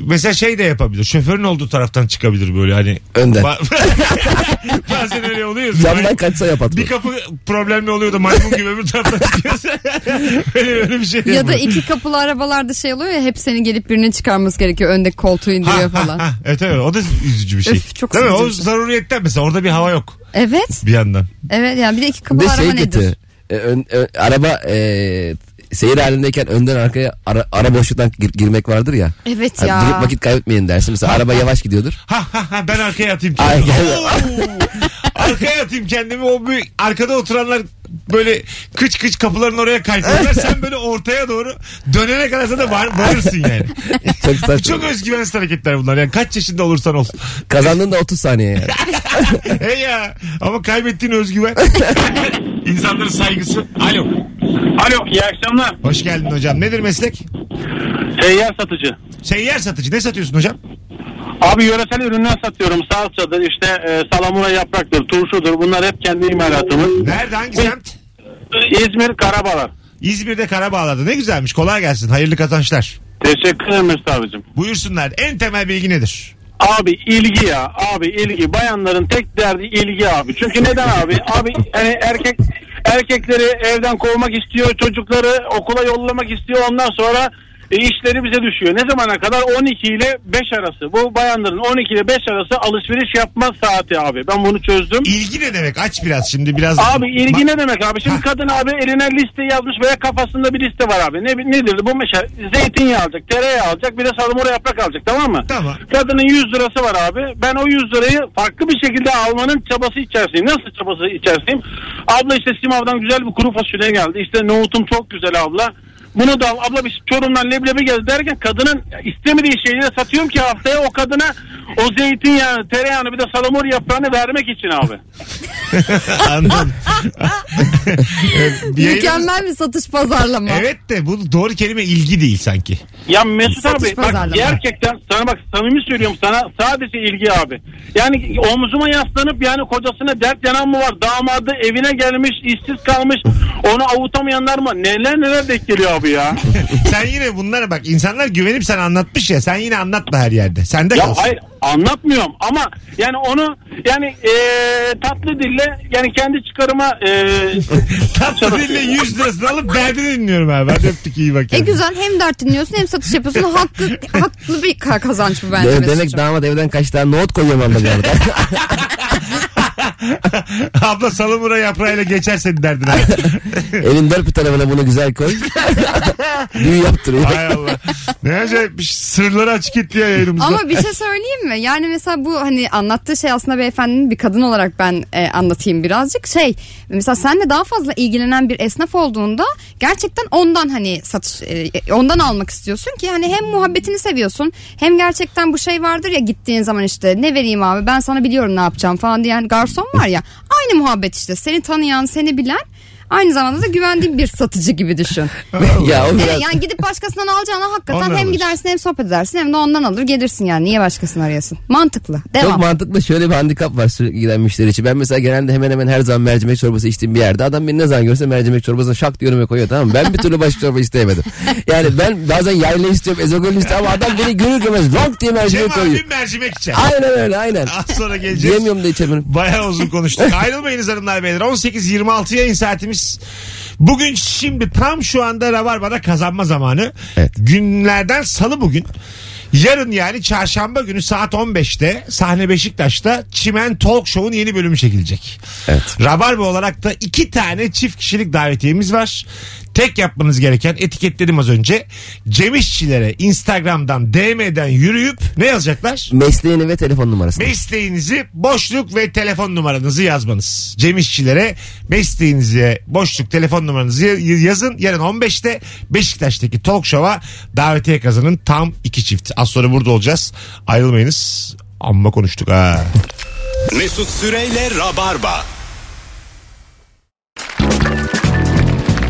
Speaker 2: Mesela şey de yapabilir. Şoförün olduğu taraftan çıkabilir böyle hani.
Speaker 3: Önden.
Speaker 2: Ba- Bazen öyle oluyor.
Speaker 3: camdan kaçsa yapatma.
Speaker 2: Bir kapı problemli oluyordu maymun gibi öbür taraftan çıkıyorsa. öyle, öyle bir şey
Speaker 7: Ya da
Speaker 2: yapıyor.
Speaker 7: iki kapılı arabalarda şey oluyor ya hep senin gelip birinin çıkarması gerekiyor. Öndeki koltuğu indiriyor falan.
Speaker 2: ha. Evet evet o da üzücü bir şey.
Speaker 7: Öf, çok
Speaker 2: Değil mi?
Speaker 7: üzücü
Speaker 2: O
Speaker 7: bir şey.
Speaker 2: zaruriyetten mesela orada bir hava yok
Speaker 7: Evet.
Speaker 2: bir yandan.
Speaker 7: Evet yani bir de iki
Speaker 3: Bir
Speaker 7: kapılı
Speaker 3: de
Speaker 7: araba
Speaker 3: şey
Speaker 7: nedir?
Speaker 3: kötü. E, ön- ö- araba e, seyir halindeyken önden arkaya ara, ara boşluktan gir- girmek vardır ya.
Speaker 7: Evet
Speaker 3: Hani
Speaker 7: ya.
Speaker 3: durup vakit kaybetmeyin dersin. Mesela araba yavaş gidiyordur.
Speaker 2: Ha ha ha ben arkaya atayım
Speaker 3: Ay,
Speaker 2: kendimi.
Speaker 3: gel.
Speaker 2: Oo! arkaya atayım kendimi o bir arkada oturanlar böyle kıç kıç kapıların oraya kaysınlar. Sen böyle ortaya doğru dönene kadar sen de var, varırsın yani.
Speaker 3: Çok saçma.
Speaker 2: Çok özgüvensiz hareketler bunlar. Yani kaç yaşında olursan ol.
Speaker 3: Kazandın da 30 saniye yani.
Speaker 2: He ya. Ama kaybettiğin özgüven. İnsanların saygısı. Alo.
Speaker 4: Alo iyi akşamlar.
Speaker 2: Hoş geldin hocam. Nedir meslek?
Speaker 4: Seyyar satıcı.
Speaker 2: Seyyar satıcı. Ne satıyorsun hocam?
Speaker 4: Abi yöresel ürünler satıyorum. Salçadır işte e, salamura yapraktır, turşudur. Bunlar hep kendi imalatımız.
Speaker 2: Nerede? Hangi semt?
Speaker 4: İzmir Karabalar.
Speaker 2: İzmir'de Karabağlar'da. Ne güzelmiş. Kolay gelsin. Hayırlı kazançlar.
Speaker 4: Teşekkür ederim Mesut abicim.
Speaker 2: Buyursunlar. En temel bilgi nedir?
Speaker 4: Abi ilgi ya. Abi ilgi. Bayanların tek derdi ilgi abi. Çünkü neden abi? Abi hani erkek erkekleri evden kovmak istiyor. Çocukları okula yollamak istiyor. Ondan sonra e, işleri bize düşüyor. Ne zamana kadar? 12 ile 5 arası. Bu bayanların 12 ile 5 arası alışveriş yapma saati abi. Ben bunu çözdüm.
Speaker 2: İlgi ne demek? Aç biraz şimdi biraz.
Speaker 4: Abi ilgi
Speaker 2: Ma-
Speaker 4: ne demek
Speaker 2: Ha.
Speaker 4: abi? Şimdi kadın abi eline liste yazmış veya kafasında bir liste var abi. Ne nedir bu mesela? Zeytinyağı alacak, tereyağı alacak, bir de salamura yaprak alacak tamam mı?
Speaker 2: Tamam.
Speaker 4: Kadının 100 lirası var abi. Ben o 100 lirayı farklı bir şekilde almanın çabası içerisindeyim. Nasıl çabası içerisindeyim? Abla işte Simav'dan güzel bir kuru fasulye geldi. İşte nohutum çok güzel abla. Bunu da al. abla bir Çorum'dan leblebi geldi derken kadının istemediği şeyleri satıyorum ki haftaya o kadına o zeytinyağını, tereyağını bir de salamura yaprağını vermek için abi.
Speaker 2: Anladım. Evet, yayınımız-
Speaker 7: Mükemmel bir satış pazarlama.
Speaker 2: Evet de bu doğru kelime ilgi değil sanki.
Speaker 4: Ya Mesut
Speaker 7: Satış
Speaker 4: abi bak
Speaker 7: pazarlama.
Speaker 4: gerçekten sana bak samimi söylüyorum sana sadece ilgi abi. Yani omzuma yaslanıp yani kocasına dert yanan mı var? Damadı evine gelmiş işsiz kalmış onu avutamayanlar mı? Neler neler denk geliyor abi ya.
Speaker 2: sen yine bunlara bak insanlar güvenip sana anlatmış ya sen yine anlatma her yerde. Sende
Speaker 4: ya
Speaker 2: kalsın.
Speaker 4: hayır anlatmıyorum ama yani onu yani eee, tatlı dille yani kendi çıkarıma eee
Speaker 2: Tatlı dille 100 lirasını alıp derdini dinliyorum abi. Hadi öptük iyi bak.
Speaker 7: E
Speaker 2: kendine.
Speaker 7: güzel hem dert dinliyorsun hem satış yapıyorsun. Haklı haklı bir ka- kazanç bu bence.
Speaker 3: De- demek
Speaker 7: Mesut'cum.
Speaker 3: damat evden kaç tane nohut koyuyor bana bir arada.
Speaker 2: Abla salamura yaprağıyla geçer senin derdin abi.
Speaker 3: Elin dört bir tarafına bunu güzel koy. Büyü yaptırıyor.
Speaker 2: Hay Allah. Ne acayip bir şey. sırları açık etti ya yayınımızda.
Speaker 7: Ama bir şey söyleyeyim mi? Yani mesela bu hani anlattığı şey aslında beyefendinin bir kadın olarak ben e, anlatayım birazcık. Şey mesela senle daha fazla ilgilenen bir esnaf olduğunda gerçekten ondan hani satış e, ondan almak istiyorsun ki hani hem muhabbetini seviyorsun hem gerçekten bu şey vardır ya gittiğin zaman işte ne vereyim abi ben sana biliyorum ne yapacağım falan diyen garson var ya aynı muhabbet işte seni tanıyan seni bilen aynı zamanda da güvendiğin bir satıcı gibi düşün.
Speaker 3: ya o
Speaker 7: Evet,
Speaker 3: biraz
Speaker 7: yani gidip başkasından alacağına hakikaten
Speaker 2: Ondan
Speaker 7: hem
Speaker 2: alırsın.
Speaker 7: gidersin hem sohbet edersin hem de ondan alır gelirsin yani. Niye başkasını arayasın? Mantıklı.
Speaker 3: Çok
Speaker 7: Devam.
Speaker 3: mantıklı şöyle bir handikap var sürekli giden müşteri için. Ben mesela genelde hemen hemen her zaman mercimek çorbası içtiğim bir yerde adam beni ne zaman görse mercimek çorbasına şak diye önüme koyuyor tamam mı? Ben bir türlü başka çorba isteyemedim. Yani ben bazen yayla istiyorum, ezogelin istiyorum ama adam beni görür görmez long diye
Speaker 2: Cem
Speaker 3: mercimek koyuyor.
Speaker 2: abi mercimek içer.
Speaker 3: Aynen öyle aynen.
Speaker 2: Az sonra geleceğiz.
Speaker 3: Diyemiyorum da içemiyorum.
Speaker 2: Bayağı uzun konuştuk. Ayrılmayınız hanımlar beyler. 18-26 yayın saatimiz. Bugün şimdi tam şu anda Rabarba'da kazanma zamanı.
Speaker 3: Evet.
Speaker 2: Günlerden salı bugün. Yarın yani çarşamba günü saat 15'te sahne Beşiktaş'ta Çimen Talk Show'un yeni bölümü çekilecek.
Speaker 3: Evet.
Speaker 2: Rabarba olarak da iki tane çift kişilik davetiyemiz var. Tek yapmanız gereken etiketledim az önce. Cem İşçilere Instagram'dan DM'den yürüyüp ne yazacaklar?
Speaker 3: Mesleğini ve telefon numarasını.
Speaker 2: Mesleğinizi, boşluk ve telefon numaranızı yazmanız. Cem İşçilere mesleğinizi, boşluk, telefon numaranızı y- yazın. Yarın 15'te Beşiktaş'taki Talk Show'a davetiye kazanın. Tam iki çift. Az sonra burada olacağız. Ayrılmayınız. Amma konuştuk ha.
Speaker 1: Mesut Süreyle Rabarba.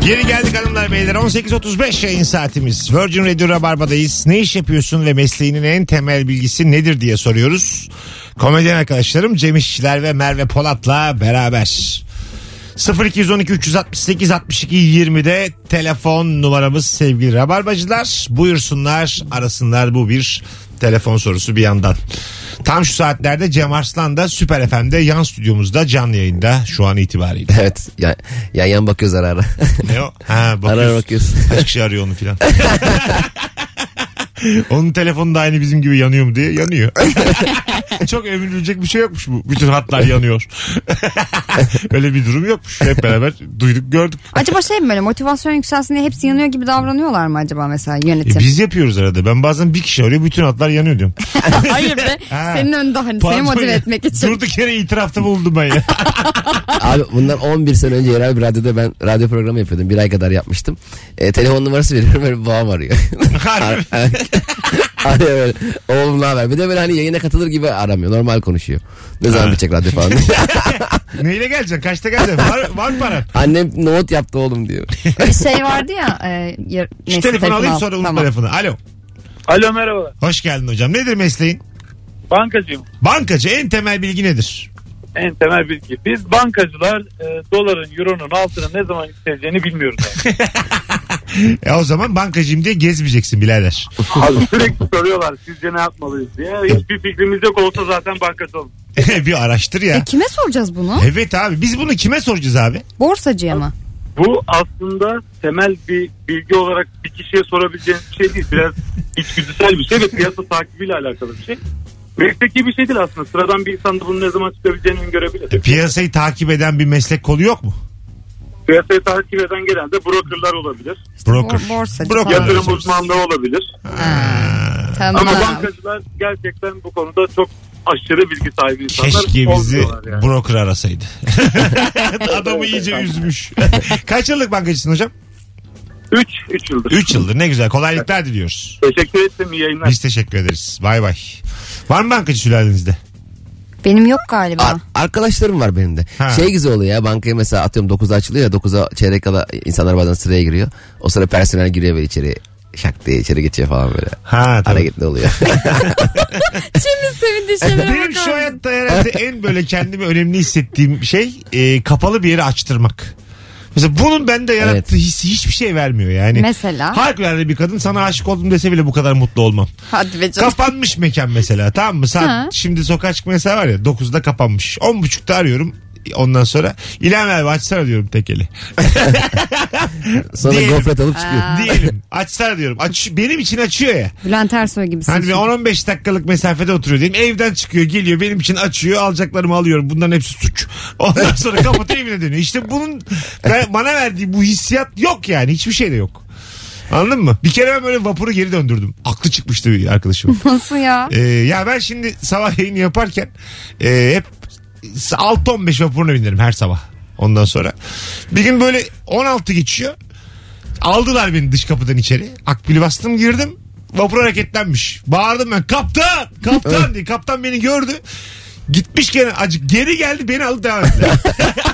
Speaker 2: Geri geldik hanımlar beyler. 18.35 yayın saatimiz. Virgin Radio Rabarba'dayız. Ne iş yapıyorsun ve mesleğinin en temel bilgisi nedir diye soruyoruz. Komedyen arkadaşlarım Cem İşçiler ve Merve Polat'la beraber. 0212 368 62 20'de telefon numaramız sevgili Rabarbacılar. Buyursunlar arasınlar bu bir telefon sorusu bir yandan. Tam şu saatlerde Cem Arslan da Süper FM'de yan stüdyomuzda canlı yayında şu an itibariyle.
Speaker 3: Evet ya, yan yan bakıyoruz ara ara.
Speaker 2: Ne o? Ha,
Speaker 3: ara ara
Speaker 2: bakıyorsun.
Speaker 3: bakıyoruz.
Speaker 2: Kaç kişi arıyor onu filan. Onun telefonu da aynı bizim gibi yanıyor mu diye yanıyor. Çok övünülecek bir şey yokmuş bu. Bütün hatlar yanıyor. Öyle bir durum yokmuş. Hep beraber duyduk gördük.
Speaker 7: Acaba şey mi böyle motivasyon yükselsin diye hepsi yanıyor gibi davranıyorlar mı acaba mesela
Speaker 2: E
Speaker 7: yönetim?
Speaker 2: biz yapıyoruz arada. Ben bazen bir kişi arıyor bütün hatlar yanıyor diyorum.
Speaker 7: Hayır be.
Speaker 2: Ha.
Speaker 7: Senin önünde hani seni
Speaker 2: Pardon
Speaker 7: motive
Speaker 2: ya.
Speaker 7: etmek için.
Speaker 2: Durduk yere itirafta bulundum ben ya.
Speaker 3: Abi bundan 11 sene önce yerel bir radyoda ben radyo programı yapıyordum. Bir ay kadar yapmıştım. E, telefon numarası veriyorum böyle babam arıyor.
Speaker 2: Harbi.
Speaker 3: Arıyor böyle. Oğlum ne haber? Bir de böyle hani yayına katılır gibi aramıyor. Normal konuşuyor. Ne zaman bitecek radyo falan.
Speaker 2: Neyle geleceksin? Kaçta geleceksin? Var, var mı paran?
Speaker 3: Annem nohut yaptı oğlum diyor.
Speaker 7: Bir şey vardı ya. E, yar-
Speaker 2: Şu
Speaker 7: neyse,
Speaker 2: telefonu alayım
Speaker 7: al.
Speaker 2: sonra unut
Speaker 7: Tamam.
Speaker 2: telefonu. Alo.
Speaker 4: Alo merhaba
Speaker 2: Hoş geldin hocam. Nedir mesleğin?
Speaker 4: bankacıyım
Speaker 2: Bankacı en temel bilgi nedir?
Speaker 4: en temel bilgi. Biz bankacılar e, doların euronun altına ne zaman yükseleceğini bilmiyoruz.
Speaker 2: E o zaman bankacıyım diye gezmeyeceksin birader.
Speaker 4: Abi sürekli soruyorlar sizce ne yapmalıyız diye. Hiçbir fikrimiz yok olsa zaten bankacı olur.
Speaker 2: bir araştır ya.
Speaker 7: E, kime soracağız bunu?
Speaker 2: Evet abi biz bunu kime soracağız abi?
Speaker 7: Borsacıya mı?
Speaker 4: Bu aslında temel bir bilgi olarak bir kişiye sorabileceğiniz bir şey değil. Biraz içgüdüsel bir şey ve piyasa takibiyle alakalı bir şey. Mesleki bir şey değil aslında. Sıradan bir insan da bunun ne zaman çıkabileceğini
Speaker 2: E,
Speaker 4: öngörebilir.
Speaker 2: Piyasayı takip eden bir meslek kolu yok mu?
Speaker 4: Piyasayı takip eden genelde brokerlar olabilir.
Speaker 7: İşte bor-
Speaker 2: Broker.
Speaker 7: borsacı
Speaker 2: Broker.
Speaker 7: falan.
Speaker 4: Yatırım uzmanları olabilir.
Speaker 7: Ha, Tamam.
Speaker 4: Ama bankacılar gerçekten bu konuda çok aşırı bilgi sahibi insanlar.
Speaker 2: Keşke bizi
Speaker 4: olmuyorlar yani.
Speaker 2: broker arasaydı. Adamı iyice üzmüş. Kaç yıllık bankacısın hocam?
Speaker 4: Üç, üç yıldır.
Speaker 2: 3 yıldır ne güzel kolaylıklar diliyoruz.
Speaker 4: Teşekkür ettim iyi yayınlar.
Speaker 2: Biz teşekkür ederiz. Bay bay. Var mı bankacı sülalenizde?
Speaker 7: Benim yok galiba.
Speaker 3: Ar- arkadaşlarım var benim de.
Speaker 2: Ha.
Speaker 3: Şey güzel oluyor ya bankaya mesela atıyorum 9'da açılıyor ya 9'a çeyrek kala insanlar bazen sıraya giriyor. O sıra personel giriyor böyle içeri şak diye içeri geçiyor falan böyle.
Speaker 2: Ha tabii.
Speaker 3: Hareketli oluyor.
Speaker 7: Şimdi sevindiği şeylere
Speaker 2: E, Benim
Speaker 7: bakar
Speaker 2: şu
Speaker 7: mısın?
Speaker 2: hayatta herhalde en böyle kendimi önemli hissettiğim şey e, kapalı bir yeri açtırmak. Mesela bunun bende yarattığı
Speaker 3: Evet.
Speaker 2: hissi hiçbir şey vermiyor yani.
Speaker 7: Mesela?
Speaker 2: Harikulade bir kadın sana aşık oldum dese bile bu kadar mutlu olmam.
Speaker 7: Hadi be canım.
Speaker 2: Kapanmış mekan mesela tamam mı? Saat,
Speaker 7: Ha.
Speaker 2: şimdi sokağa çıkma yasağı var ya 9'da kapanmış. 10.30'da arıyorum ondan sonra İlhan abi açsana diyorum tekeli.
Speaker 3: Sonra
Speaker 2: Diyelim.
Speaker 3: gofret alıp çıkıyor.
Speaker 2: Diyelim açsana diyorum. Aç, benim için açıyor ya.
Speaker 7: Bülent Ersoy gibisin.
Speaker 2: Hani bir
Speaker 7: şimdi.
Speaker 2: 10-15 dakikalık mesafede oturuyor diyeyim. Evden çıkıyor geliyor benim için açıyor alacaklarımı alıyorum. Bunların hepsi suç. Ondan sonra kapatıyor evine dönüyor. İşte bunun ben- bana verdiği bu hissiyat yok yani. Hiçbir şey de yok. Anladın mı? Bir kere ben böyle vapuru geri döndürdüm. Aklı çıkmıştı bir arkadaşım.
Speaker 7: Nasıl ya?
Speaker 2: Ee, ya ben şimdi sabah yayını yaparken e, hep 6-15 vapuruna binerim her sabah. Ondan sonra. Bir gün böyle 16 geçiyor. Aldılar beni dış kapıdan içeri. Akbil bastım girdim. Vapur hareketlenmiş. Bağırdım ben kaptan kaptan diye. Kaptan beni gördü. Gitmiş gene acık geri geldi beni aldı devam etti.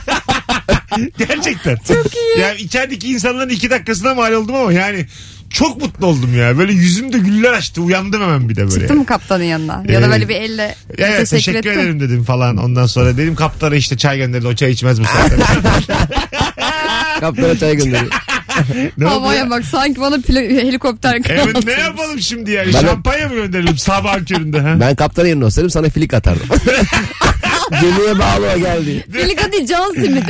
Speaker 2: Gerçekten. Çok iyi. Yani içerideki insanların iki dakikasına mal oldum ama yani çok mutlu oldum ya. Böyle yüzümde güller açtı. Uyandım hemen bir de böyle.
Speaker 7: Çıktı mı kaptanın yanına? Ya da
Speaker 2: Ee,
Speaker 7: böyle bir elle
Speaker 2: Evet teşekkür,
Speaker 7: teşekkür, ettim.
Speaker 2: ederim dedim falan. Ondan sonra dedim kaptana işte çay gönderdi. O çay içmez bu saatte.
Speaker 3: Kaptana çay gönderiyor.
Speaker 2: ne oldu ya?
Speaker 7: Havaya bak sanki bana pla- helikopter kanatı.
Speaker 2: Evet ne yapalım şimdi yani?
Speaker 3: Ben-
Speaker 2: Şampanya mı gönderelim sabah köründe? Ha?
Speaker 3: Ben kaptanın yerine olsaydım sana filik atardım. Gemiye bağlı o geldi.
Speaker 7: Helikopter değil can simidi.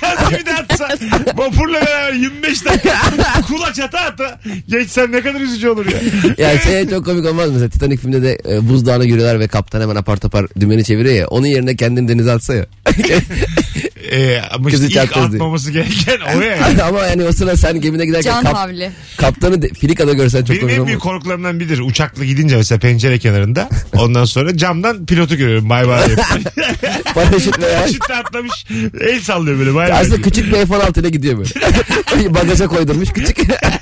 Speaker 2: Sen bir de atsa vapurla beraber 25 dakika kulaç ata ata geçsen ne kadar üzücü olur ya.
Speaker 3: Ya şey çok komik olmaz mı? Mesela Titanic filminde de e, buzdağına yürüyorlar ve kaptan hemen apar topar dümeni çeviriyor ya. Onun yerine kendini denize atsa ya.
Speaker 2: Ee, ama işte
Speaker 3: Kızı
Speaker 2: ilk
Speaker 3: çarptı diye.
Speaker 2: atmaması gereken o ya.
Speaker 3: Ama yani o sıra sen gemine giderken
Speaker 7: Can
Speaker 3: kap-
Speaker 7: havli.
Speaker 3: kaptanı de- filikada görsen çok
Speaker 2: Benim
Speaker 3: komik
Speaker 2: en
Speaker 3: olmaz.
Speaker 2: büyük korkularımdan biridir. Uçakla gidince mesela pencere kenarında. Ondan sonra camdan pilotu görüyorum. Bay bay. diye.
Speaker 3: Paraşütle ya.
Speaker 2: Paraşütle atlamış. El sallıyor böyle bay bay.
Speaker 3: Aslında
Speaker 2: diye.
Speaker 3: küçük bir F-16 ile gidiyor böyle. Bagaja koydurmuş küçük.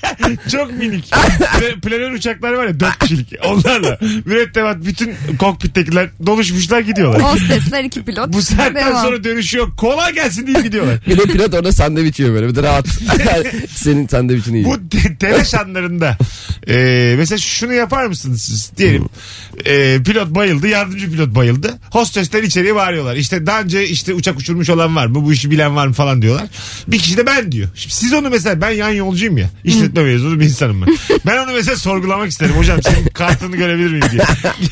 Speaker 2: Çok minik. Pla- Planör uçaklar var ya dört kişilik. Onlarla mürettebat bütün kokpittekiler doluşmuşlar gidiyorlar.
Speaker 7: Hostesler iki pilot.
Speaker 2: Bu saatten
Speaker 7: Devam.
Speaker 2: sonra dönüşü yok. Kolay gelsin diye gidiyorlar.
Speaker 3: Bir de pilot orada sandviç yiyor böyle. Bir de rahat. Senin sandviçini yiyor.
Speaker 2: Bu te- telaş anlarında e, mesela şunu yapar mısınız siz? Diyelim e, pilot bayıldı, yardımcı pilot bayıldı. Hostesler içeriye bağırıyorlar. İşte daha önce işte uçak uçurmuş olan var mı? Bu işi bilen var mı falan diyorlar. Bir kişi de ben diyor. Şimdi siz onu mesela ben yan yolcuyum ya. İşletme mezunu bir insanım ben. Ben onu mesela sorgulamak isterim. Hocam senin kartını görebilir miyim diye.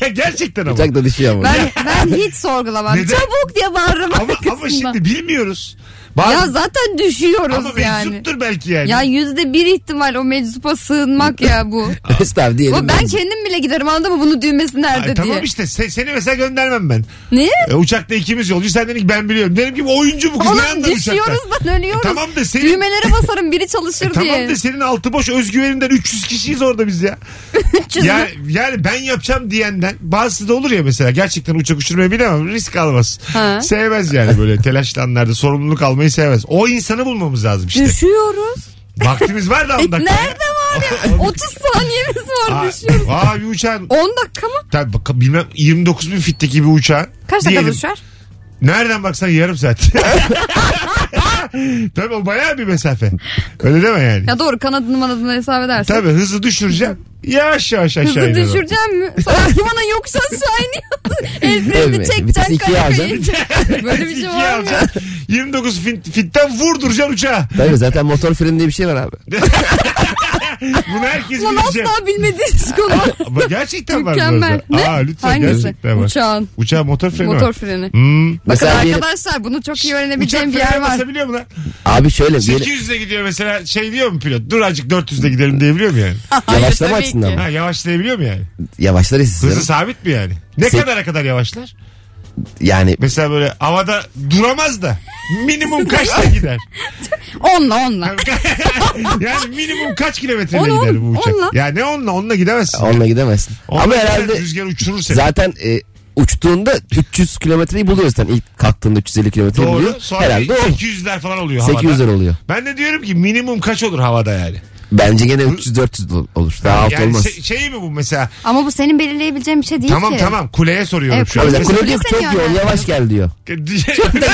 Speaker 2: Ya gerçekten ama.
Speaker 3: Uçak da düşüyor ama.
Speaker 7: Ben, ben hiç sorgulamam.
Speaker 2: Neden?
Speaker 7: Çabuk diye bağırırım
Speaker 2: Ama, ama
Speaker 7: arkasından.
Speaker 2: şimdi bilmiyoruz.
Speaker 7: Ya
Speaker 2: Bazı,
Speaker 7: zaten düşüyoruz
Speaker 2: ama
Speaker 7: yani.
Speaker 2: meczuptur belki yani.
Speaker 7: Ya yüzde bir ihtimal o meczupa sığınmak ya bu.
Speaker 3: Estağfurullah
Speaker 7: Bu
Speaker 3: diyelim.
Speaker 7: ben
Speaker 3: ben.
Speaker 7: kendim bile giderim anladın mı? Bunun düğmesi nerede
Speaker 2: Ay,
Speaker 7: diye.
Speaker 2: tamam işte se- seni mesela göndermem ben.
Speaker 7: Ne?
Speaker 2: E, uçakta ikimiz yolcu sen dedin ki ben biliyorum. Dedim ki bu oyuncu bu kız ne
Speaker 7: Oğlum
Speaker 2: anlar uçakta.
Speaker 7: düşüyoruz lan ölüyoruz.
Speaker 2: E, tamam da senin- E,
Speaker 7: Düğmelere basarım biri çalışır diye.
Speaker 2: Tamam da senin altı boş özgüveninden 300 kişiyiz orada biz ya. yani, yani ben yapacağım diyenden bazısı da olur ya mesela gerçekten uçak uçurmayı bilemem risk almaz.
Speaker 7: Ha.
Speaker 2: Sevmez yani böyle telaşlı anlarda sorumluluk almayı sevmez. O insanı bulmamız lazım işte.
Speaker 7: Düşüyoruz.
Speaker 2: Vaktimiz var da 10 dakika.
Speaker 7: E, Nerede var ya? 30 saniyemiz var
Speaker 2: Aa,
Speaker 7: düşüyoruz.
Speaker 2: Aa bir uçağın
Speaker 7: 10 dakika mı?
Speaker 2: Tabii bak- bilmem 29 bin fitteki bir uçağın.
Speaker 7: Kaç dakika
Speaker 2: diyelim,
Speaker 7: düşer?
Speaker 2: Nereden baksan yarım saat. Tabii o bayağı bir mesafe. Öyle deme yani.
Speaker 7: Ya doğru kanadını manadını hesap edersin.
Speaker 2: Tabii hızı düşüreceğim. Yavaş yavaş aşağı
Speaker 7: Hızlı
Speaker 2: iniyorum.
Speaker 7: düşüreceğim mi? Sonra bana yokuş aşağı iniyor. El
Speaker 3: Tabii.
Speaker 7: freni
Speaker 3: Vitesi
Speaker 7: çekeceksin
Speaker 3: ikiye
Speaker 7: kanapeyi.
Speaker 3: alacaksın.
Speaker 7: Böyle bir şey
Speaker 2: İkiye
Speaker 7: var mı?
Speaker 2: alacaksın. 29 fit, fitten vurduracaksın uçağı.
Speaker 3: Tabii zaten motor freni diye bir şey var abi.
Speaker 2: Bunu herkes
Speaker 7: Lan
Speaker 2: bilecek.
Speaker 7: asla bilmediğiniz konu.
Speaker 2: Ama gerçekten var
Speaker 7: Mükemmel.
Speaker 2: bu arada.
Speaker 7: Ne?
Speaker 2: Aa, lütfen
Speaker 7: Hangisi?
Speaker 2: gerçekten var.
Speaker 7: Uçağın.
Speaker 2: Uçağı motor freni
Speaker 7: Motor
Speaker 2: var.
Speaker 7: freni.
Speaker 2: Hmm.
Speaker 7: Bakın
Speaker 3: Mesela bir-
Speaker 7: arkadaşlar bunu çok iyi
Speaker 2: Uçak
Speaker 7: öğrenebileceğim bir yer
Speaker 2: freni
Speaker 7: var.
Speaker 2: basabiliyor mu lan?
Speaker 3: Abi şöyle. bir-
Speaker 2: 800'de gidiyor mesela şey diyor mu pilot? Dur azıcık 400'de gidelim diyebiliyor mu yani?
Speaker 7: Ah.
Speaker 3: Yavaşlama
Speaker 7: tabii
Speaker 3: açısından
Speaker 7: ki.
Speaker 3: mı?
Speaker 2: Ha yavaşlayabiliyor mu yani?
Speaker 3: Yavaşlar
Speaker 2: Hızı
Speaker 3: hissi.
Speaker 2: sabit mi yani? Ne
Speaker 3: Se-
Speaker 2: kadara kadar yavaşlar?
Speaker 3: Yani
Speaker 2: Mesela böyle havada duramaz da minimum kaçta gider?
Speaker 7: Onunla onunla.
Speaker 2: yani minimum kaç kilometreyle
Speaker 7: On, on,
Speaker 2: gider bu uçak?
Speaker 7: onla.
Speaker 2: Ya ne onunla onunla gidemezsin.
Speaker 3: onunla gidemezsin.
Speaker 2: Onunla
Speaker 3: Ama
Speaker 2: gider,
Speaker 3: herhalde
Speaker 2: rüzgar uçurur seni.
Speaker 3: zaten e, uçtuğunda 300 kilometreyi buluyor zaten. İlk kalktığında 350 kilometreyi
Speaker 2: Doğru.
Speaker 3: buluyor.
Speaker 2: Sonra
Speaker 3: Herhalde o.
Speaker 2: 800'ler falan oluyor
Speaker 3: 800'ler
Speaker 2: havada.
Speaker 3: oluyor.
Speaker 2: Ben de diyorum ki minimum kaç olur havada yani?
Speaker 3: Bence gene 300-400 ol- olur. Daha alt
Speaker 2: Yani
Speaker 3: olmaz.
Speaker 2: şey, şey mi bu mesela?
Speaker 7: Ama bu senin belirleyebileceğin bir şey değil
Speaker 2: tamam
Speaker 7: ki.
Speaker 2: tamam kuleye soruyorum
Speaker 7: Evet,
Speaker 2: şu an. şey-
Speaker 3: Öyle
Speaker 7: Mesela
Speaker 3: kule diyor ki
Speaker 7: seni
Speaker 3: çok yoğun
Speaker 7: yönlendiriyor.
Speaker 3: yavaş gel diyor.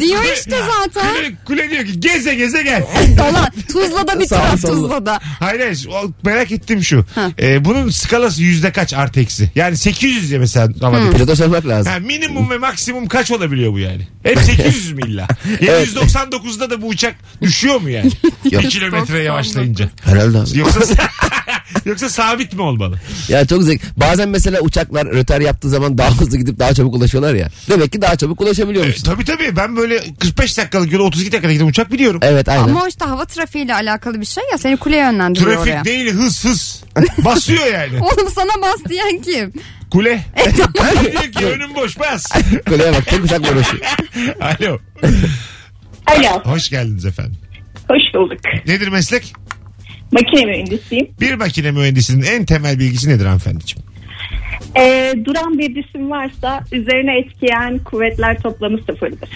Speaker 7: Diyor işte zaten.
Speaker 2: kule, kule diyor ki geze geze gel.
Speaker 7: Dolan. Tuzla'da bir
Speaker 3: Sağ ol,
Speaker 7: taraf
Speaker 3: solla.
Speaker 7: Tuzla'da.
Speaker 2: Hayır hayır o- merak ettim şu. Ee, bunun skalası yüzde kaç artı eksi? Yani 800 ya mesela ama bir-
Speaker 3: Pilota sormak lazım.
Speaker 2: Ha, minimum ve maksimum kaç olabiliyor bu yani? Hep 800 mü illa? 799'da da bu uçak düşüyor mu yani?
Speaker 3: Yok.
Speaker 2: 1 kilometre yavaşlayınca.
Speaker 3: Herhalde abi.
Speaker 2: Yoksa yoksa sabit mi olmalı?
Speaker 3: Ya çok zevk. Bazen mesela uçaklar rötar yaptığı zaman daha hızlı gidip daha çabuk ulaşıyorlar ya. Demek ki daha çabuk ulaşabiliyormuş.
Speaker 2: E, Tabii tabii ben böyle 45 dakikalık yolu 32 dakikada giden uçak biliyorum.
Speaker 3: Evet aynen.
Speaker 7: Ama o işte hava trafiğiyle alakalı bir şey ya seni kuleye yönlendiriyor
Speaker 2: Trafik
Speaker 7: oraya.
Speaker 2: değil hız hız. Basıyor yani.
Speaker 7: Oğlum sana bas diyen kim?
Speaker 2: Kule. Kule diyor ki önüm boş bas.
Speaker 3: Kuleye bak tek uçak uğraşıyor.
Speaker 2: Alo.
Speaker 8: Alo,
Speaker 2: Hoş geldiniz efendim.
Speaker 8: hoş bulduk.
Speaker 2: Nedir meslek?
Speaker 8: Makine mühendisiyim.
Speaker 2: Bir makine mühendisinin en temel bilgisi nedir hanımefendiciğim?
Speaker 8: Ee, duran bir cisim varsa üzerine etkiyen kuvvetler toplamı sıfırdır.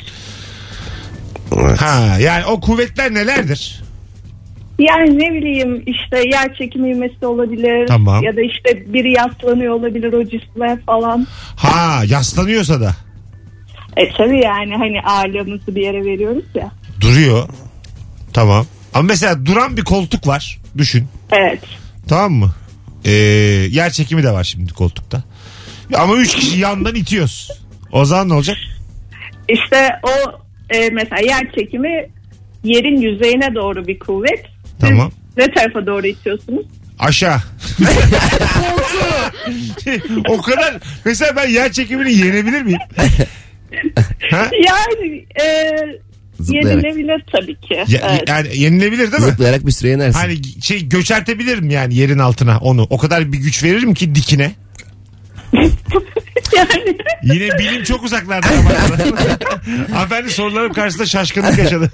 Speaker 2: Ha yani o kuvvetler nelerdir?
Speaker 8: Yani ne bileyim işte yer çekimi ivmesi olabilir.
Speaker 2: Tamam.
Speaker 8: Ya da işte biri yaslanıyor olabilir o cisme falan.
Speaker 2: Ha yaslanıyorsa da
Speaker 8: E tabii yani hani ağırlığımızı bir yere veriyoruz ya.
Speaker 2: duruyor. Tamam. Ama mesela duran bir koltuk var. Düşün.
Speaker 8: Evet.
Speaker 2: Tamam mı? Ee, yer çekimi de var şimdi koltukta. Ama üç kişi yandan itiyoruz. O zaman ne olacak?
Speaker 8: İşte o e, mesela yer çekimi yerin yüzeyine doğru bir kuvvet. Siz
Speaker 2: Tamam.
Speaker 8: ne tarafa doğru itiyorsunuz?
Speaker 2: Aşağı. o kadar. Mesela ben yer çekimini yenebilir miyim? ha?
Speaker 8: Yani e,
Speaker 3: Zıplayarak.
Speaker 8: yenilebilir tabii ki.
Speaker 2: Ya-
Speaker 8: evet.
Speaker 2: Yani yenilebilir değil mi?
Speaker 3: Zıplayarak bir süre inersin.
Speaker 2: Hani şey göçertebilirim yani yerin altına onu. O kadar bir güç veririm ki dikine.
Speaker 8: yani
Speaker 2: Yine bilim çok uzaklarda. ama. Hanımefendi sorularım karşısında şaşkınlık yaşadı.